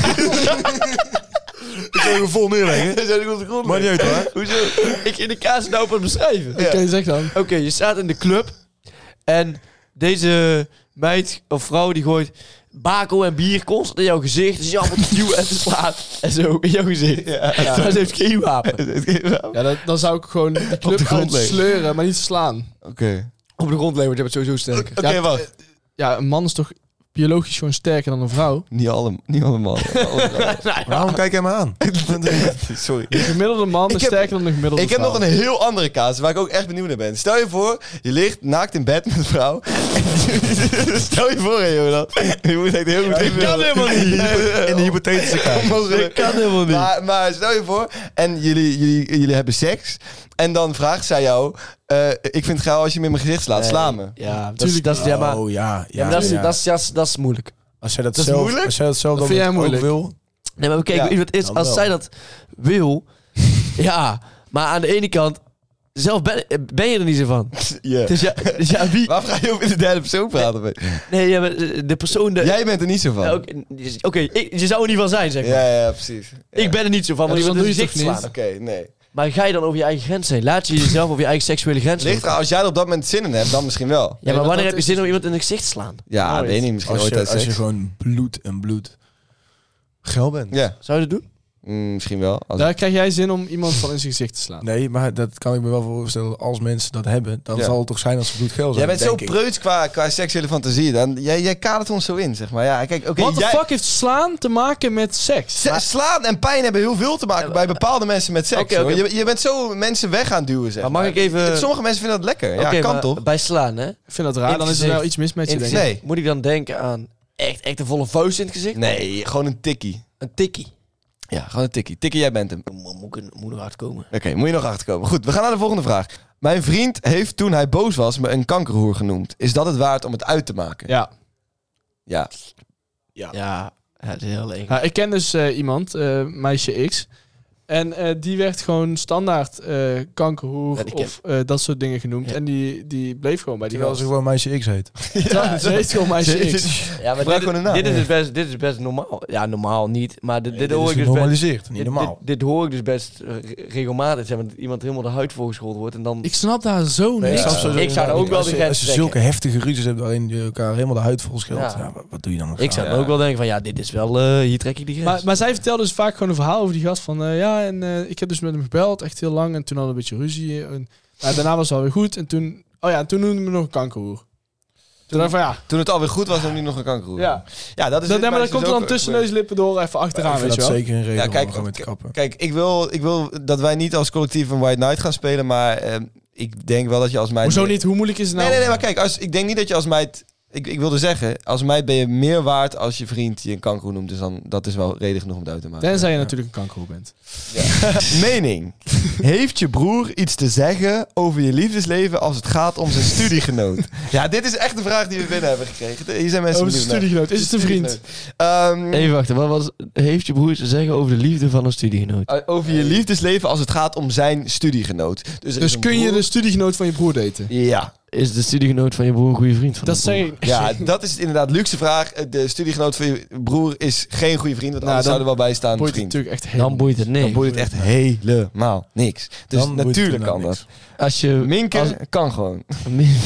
Ik zou hem vol neerleggen.
Ze zijn op de grond.
Maar niet uit hoor.
Hoezo? Ik in de kaas nou op het beschrijven.
Oké, zeg dan.
Oké, je staat in de club. En deze meid of vrouw die gooit bako en bier constant in jouw gezicht. Dus je allemaal duwen en te slaan. En zo in jouw gezicht. Maar ze heeft geen wapen.
Ja, dat, dan zou ik gewoon de club
de grond
gaan
leggen.
sleuren, maar niet slaan.
Oké.
Op de grond levert je hebt het sowieso sterk.
Oké,
Eh,
wacht.
Ja, een man is toch biologisch gewoon sterker dan een vrouw?
Niet alle- Niet allemaal.
Waarom kijk jij me aan?
Sorry.
Een gemiddelde man is
heb-
sterker dan een gemiddelde
Ik heb
vrouw.
nog een heel andere kaas waar ik ook echt benieuwd naar ben. Stel je voor, je ligt naakt in bed met een vrouw. Stel je voor, hè, Jonas. Je moet echt heel goed Ik kan helemaal niet.
In de hypothetische kaart.
Onmogelijk.
kan helemaal niet.
Maar, maar stel je voor, en jullie, jullie, jullie hebben seks. En dan vraagt zij jou: eh, Ik vind het gaaf als je me in mijn gezicht slaat. Sla me.
Ja, dat is, dat is, ja, maar,
Oh ja,
ja,
ja.
maar dat, is,
ja.
dat, is, dat, is, dat is moeilijk.
Als jij dat,
is
zelf,
moeilijk?
Als jij dat zelf
Dat
dan
vind jij
ook
moeilijk.
wil.
Nee, maar kijk,
Ja,
weet je wat het is?
dan
Als
wel.
zij dat wil, ja. Maar aan de ene kant, zelf ben, ben je er niet zo van.
Ja.
Dus ja, dus ja wie...
Waarom ga je over in de derde persoon praten? Mee?
Nee, ja, maar eh, de de persoon... De,
Jij bent er niet zo
Ja,
van.
Oké, ik- oké, ik- je zou er niet van zijn, zeg maar.
Ja, ja, precies.
Ik ben er niet zo van, maar
Ja,
je
dus
wilt
dan
dus
doe je
dicht
het toch
slaan.
Oké, nee.
Maar ga je dan over je eigen grens heen? Laat je jezelf over je eigen seksuele grens
Ligt
heen?
eraan, als jij er op dat moment zin in hebt, dan misschien wel.
Ja, maar
Nee,
wanneer
dat
heb je
is
zin om iemand in het gezicht te slaan?
Ja,
Nooit.
weet niet. Misschien
Als
ooit
je,
tijdens
als je
seks.
gewoon bloed en bloed geil bent.
Ja,
Zou je dat doen?
mm, misschien wel. Als-
Daar krijg jij zin om iemand van in zijn gezicht te slaan.
Nee, maar dat kan ik me wel voorstellen. Als mensen dat hebben, dan
Ja.
zal het toch zijn als ze bloed geil
Jij
zijn.
bent zo
denk ik.
preuts qua, qua seksuele fantasie. Dan, jij, jij kadert ons zo in, zeg maar. Ja, kijk, oké.
Wat de
jij-
fuck heeft slaan te maken met seks?
Se- Slaan en pijn hebben heel veel te maken bij bepaalde mensen met seks.
Oké, oké.
hoor. Je, je bent zo mensen weg aan het duwen, zeg
Maar
maar.
mag ik even-
Sommige mensen vinden dat lekker.
Oké,
ja, kan
maar
toch?
Bij slaan, hè?
Ik vind dat
In
raar,
het
dan is er
gezicht.
wel iets mis met
In
je,
het
denk ik.
gezicht.
Nee.
Moet ik dan denken aan echt, echt een volle vuist in het gezicht?
Nee, gewoon een tikkie.
Een tikkie.
Ja, gewoon een tikkie. Tikkie, jij bent hem.
Mo- Moet, ik- moet er hard komen.
Oké, moet je nog achterkomen. Goed, we gaan naar de volgende vraag. Mijn vriend heeft toen hij boos was me een kankerhoer genoemd. Is dat het waard om het uit te maken?
Ja.
Ja.
Ja, ja het is heel eng.
Ja, ik ken dus eh, iemand, eh, meisje X. En eh, die werd gewoon standaard eh, kankerhoer
Ja, die ken-
of eh, dat soort dingen genoemd.
Ja.
En die, die bleef gewoon bij die
Terwijl
gast.
ze gewoon meisje X heet.
Ja, ze heet gewoon meisje
Ze-
X.
Ja, maar
Gebruik
dit,
gewoon een naam.
dit, is dus best, dit is best normaal. Ja, normaal niet. Maar dit, dit
Dit
hoor
is
ik dus best...
genormaliseerd, niet
Dit,
normaal.
dit, dit hoor ik dus best eh, re- regelmatig. Zeg maar, dat iemand helemaal de huid volgescholden wordt en dan...
Ik snap daar zo
Nee,
niks
snap
van.
sowieso
ik zou er ook
niet.
wel
Als
de
je-
grens
Als je
trekken.
zulke heftige ruzies hebt waarin je elkaar helemaal de huid vol scheelt,
Ja.
ja. wat- wat doe je dan? nog
Ik
aan?
zou dan ook wel denken van ja, dit is wel, eh, hier trek ik die grens.
Maar, maar zij vertelde dus vaak gewoon een verhaal over die gast van... eh, ja, en eh, ik heb dus met hem gebeld, echt heel lang. En toen hadden we een beetje ruzie. En, maar daarna was het alweer goed. En toen, oh ja, en toen noemde hij me nog een kankerhoer. Toen dacht ik van ja,
Toen het alweer goed was, dan nu nog een kankerhoer.
ja.
ja dat is dit
Dat, nee, maar dat
meisje
komt er
dus
dan
ook
tussen
gebeurd.
neuslippen door even achteraan,
Ik vind
weet je
dat
wel.
zeker een reden
Ja, kijk,
om gewoon mee te kappen.
Kijk, ik wil, ik wil dat wij niet als collectief een White Knight gaan spelen, maar ehm, ik denk wel dat je als meid...
Hoezo niet? Hoe moeilijk is het nou?
Nee, nee, nee, maar kijk, als, ik denk niet dat je als meid ik, ik wilde zeggen, als mij ben je meer waard als je vriend je een kanker noemt. Dus dan, dat is wel reden genoeg om het uit te maken.
Tenzij je natuurlijk een kankerhoer bent.
Mening. Heeft je broer iets te zeggen over je liefdesleven als het gaat om zijn studiegenoot? Ja, dit is echt de vraag die we binnen hebben gekregen. Hier zijn mensen
Over zijn
benieuwd naar.
studiegenoot. Is het een vriend?
Ehm,
Even wachten, wat was, heeft je broer te zeggen over de liefde van een studiegenoot?
eh, over je liefdesleven als het gaat om zijn studiegenoot. Dus, er is
Dus
een
kun je
broer-
de studiegenoot van je broer daten?
Ja,
Is de studiegenoot van je broer een goede vriend van
Dat
je broer?
zijn...
ja, dat is inderdaad luxe vraag. Eh, De studiegenoot van je broer is geen goede vriend, want anders
dan
zou er wel bij staan
Boeit het
vriend.
natuurlijk echt
Dan
helemaal.
boeit het
Dan
nee.
boeit het echt helemaal niks. Dus
Dan boeit
natuurlijk
het
kan
inderdaad
dat.
Als je...
Minken
als-
kan gewoon.
Min-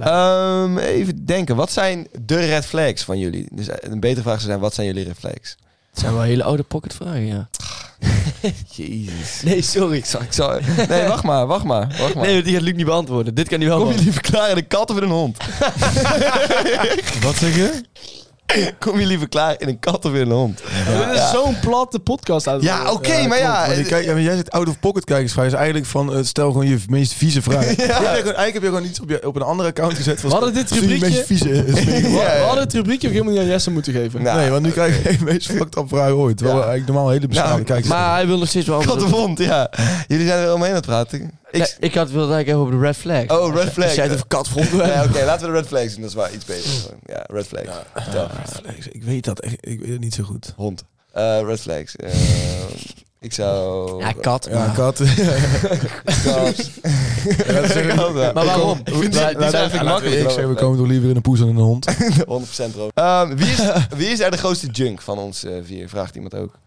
Ehm, even denken, wat zijn de red flags van jullie? Dus eh, een betere vraag zou zijn, wat zijn jullie red flags?
Het zijn wel hele oude pocketvragen, ja.
Jezus.
Nee, sorry.
Ik zou... Nee, wacht maar, wacht maar. Wacht maar.
Nee, die gaat Luc niet beantwoorden. Dit kan hij wel
Kom je
beantwoorden.
liever klaar in een kat of in een hond?
Wat zeg je?
Kom je liever klaar in een kat of in een hond?
Dit is zo'n platte podcast aan het
Ja, oké,
worden.
maar ja. eh,
Want ik kijk, ja, maar jij zit out of pocket kijkers. Ga je eigenlijk van eh, stel gewoon je meest vieze vraag. Ik heb je gewoon- Eigenlijk heb je gewoon iets op, je, op een andere account gezet. Van,
We hadden dit
stuur je
rubriekje-
meest vieze.
We-
Ja,
We
ja.
hadden het rubriekje ook helemaal niet aan Jesse moeten geven.
Nou,
nee, want nu krijg je de meest fucked up vraag ooit. Terwijl we eigenlijk normaal hele beschaamde
Nou,
kijkers.
Maar hij wil nog steeds wel...
kat of hond, ja. Jullie zijn er omheen aan het praten.
Nee,
Ik...
ik had wilde eigenlijk even over de red flag.
Oh, red flag.
Als jij het over kat vond.
Nee, oké, laten we de red flags doen. Dat is waar iets beter. Gewoon, Ja, red flags. Vertel.
Ah, ik weet dat echt. Ik weet het niet zo goed.
Hond. Eh, red flags. Eh, ik zou...
Ja, kat.
Ja,
maar-
kat.
dat is echt
Maar waarom? Maar-
die zijn eigenlijk makkelijk.
Ik zeg, we komen toch liever in een poes dan in een hond.
100% rood. Ehm, wie, is, wie is er de grootste junk van ons eh, vier? Vraagt iemand ook.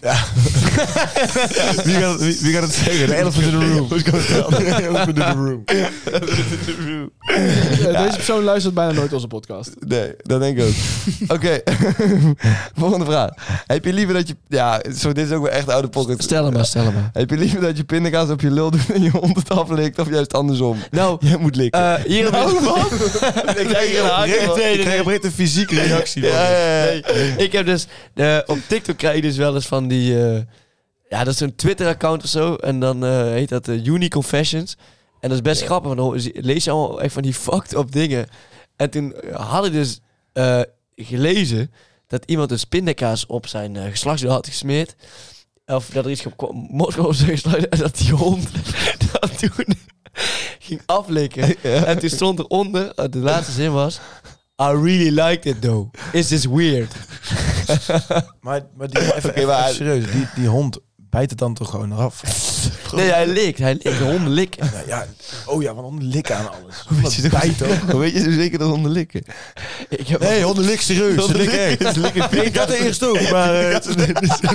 Wie gaat, wie, wie gaat het zeggen? De elephant in the room. De elephant in the room.
Eh, Deze persoon luistert bijna nooit onze podcast.
Nee, dat denk ik ook. Oké, volgende vraag. Heb je liever dat je... Ja, zo, dit is ook wel echt oude pocket.
Stel hem maar, stel hem maar.
Heb je liever dat je pindakaas op je lul doet en je hond het aflikt? Of juist andersom?
Nou,
Jij moet likken.
eh, hier op
Nou, man. ik krijg hier een haakje van.
Ik krijg oprecht een fysieke reactie.
Ja, ja, ja.
Ik heb dus... eh, op TikTok krijg je dus wel eens van die... eh, ja, dat is een Twitter-account of zo. En dan eh, heet dat eh, Uni Confessions. En dat is best grappig. Want dan zie- lees je allemaal echt van die fucked up dingen. En toen had ik dus eh, gelezen... dat iemand dus pindakaas op zijn eh, geslachtsdeel had gesmeerd. Of dat er iets kwam- mocht op zijn geslacht. En dat die hond dat toen ging aflikken. En toen stond eronder, eh, de laatste zin was... I really liked it though. Is this weird?
Maar, maar die, even, even-
maar-
even serieus, die, die hond bijt het dan toch gewoon af?
Nee, hij likt. Hij likt. De hond likt.
Nou ja, oh ja, want honden likken aan alles.
Weet je, hoe weet je zo zeker dat honden likken?
Ik heb
Nee, honden likken serieus. Ze likken echt. Ze likken Ik had het eerst ook, maar... eh, ze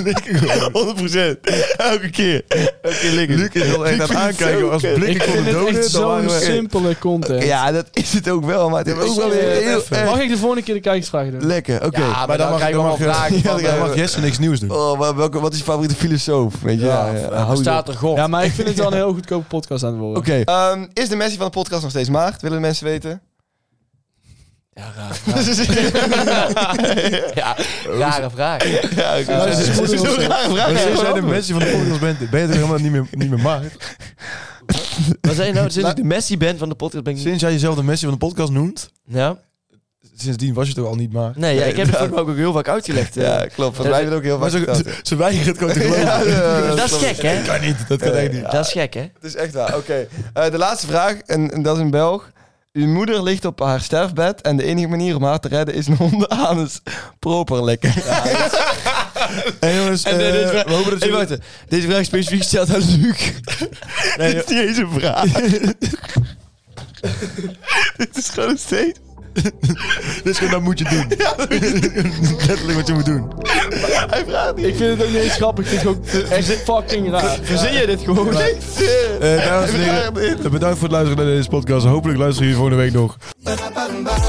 likken gewoon.
100%. Elke keer. Elke keer likken.
Luc is wel echt aan het aankijken als
Ik
blikken voor
vind
de
het
doden.
echt zo'n simpele content.
Ja, dat is het ook wel, maar het is ook wel weer heel erg
Mag ik de volgende keer de kijkersvragen doen?
lekker. Oké.
maar dan krijg ik allemaal vragen
van,
Dan mag
eh,
Jesse niks nieuws doen.
Oh, maar welke, wat is je favoriete filosoof? Weet je, ja,
eh,
ja, dus- hou je op.
staat er God.
Ja, maar ik vind het wel een heel goedkope podcast aan het worden.
Oké. Ehm, is de Messi van de podcast nog steeds maagd? Willen de mensen weten?
Ja, raar. Ja, rare vraag.
ja, dus- oké.
Maar het is
Dat is
moeilijk
zo'n
om te
rare vraag.
Maar
Ja,
jij
gewoon
zijn de
anders.
mensen van de podcast bent, ben je er helemaal niet meer, niet meer maakt.
Wat zijn nou? Sinds ik de Messi ben van de podcast ben ik niet...
Sinds jij jezelf de Messi van de podcast noemt,
Ja?
sindsdien was je toch al niet maakt.
Nee, ja, ik heb het voor ook heel vaak uitgelegd. eh.
Ja, klopt. Want wij hebben het ook heel
Maar
vaak
ze,
verteld.
ze- ze weigeren het gewoon te geloven.
Ja, ja,
Dat is
klopt.
gek, hè?
kan niet, dat kan echt niet.
Dat is gek, hè?
Het is echt waar. Oké. Eh, de laatste vraag, en, en dat is een Belg. Uw moeder ligt op haar sterfbed en de enige manier om haar te redden is een hondenanus proper likken.
Hey jongens,
En, eh,
eh,
deze vraag-
we hopen dat
Hey,
jullie...
wacht. Deze vraag is specifiek gesteld aan Luc.
Dit is niet eens een vraag. Dit is gewoon een steeds.
Dit is gewoon, dat Dus moet je doen. Letterlijk wat je moet doen.
Hij vraagt niet.
Ik vind het ook niet eens grappig. Ik vind het ook echt fucking raar.
Verzin je dit gewoon?
Eh, dames en heren, bedankt voor het luisteren naar deze podcast. Hopelijk luisteren jullie volgende week nog.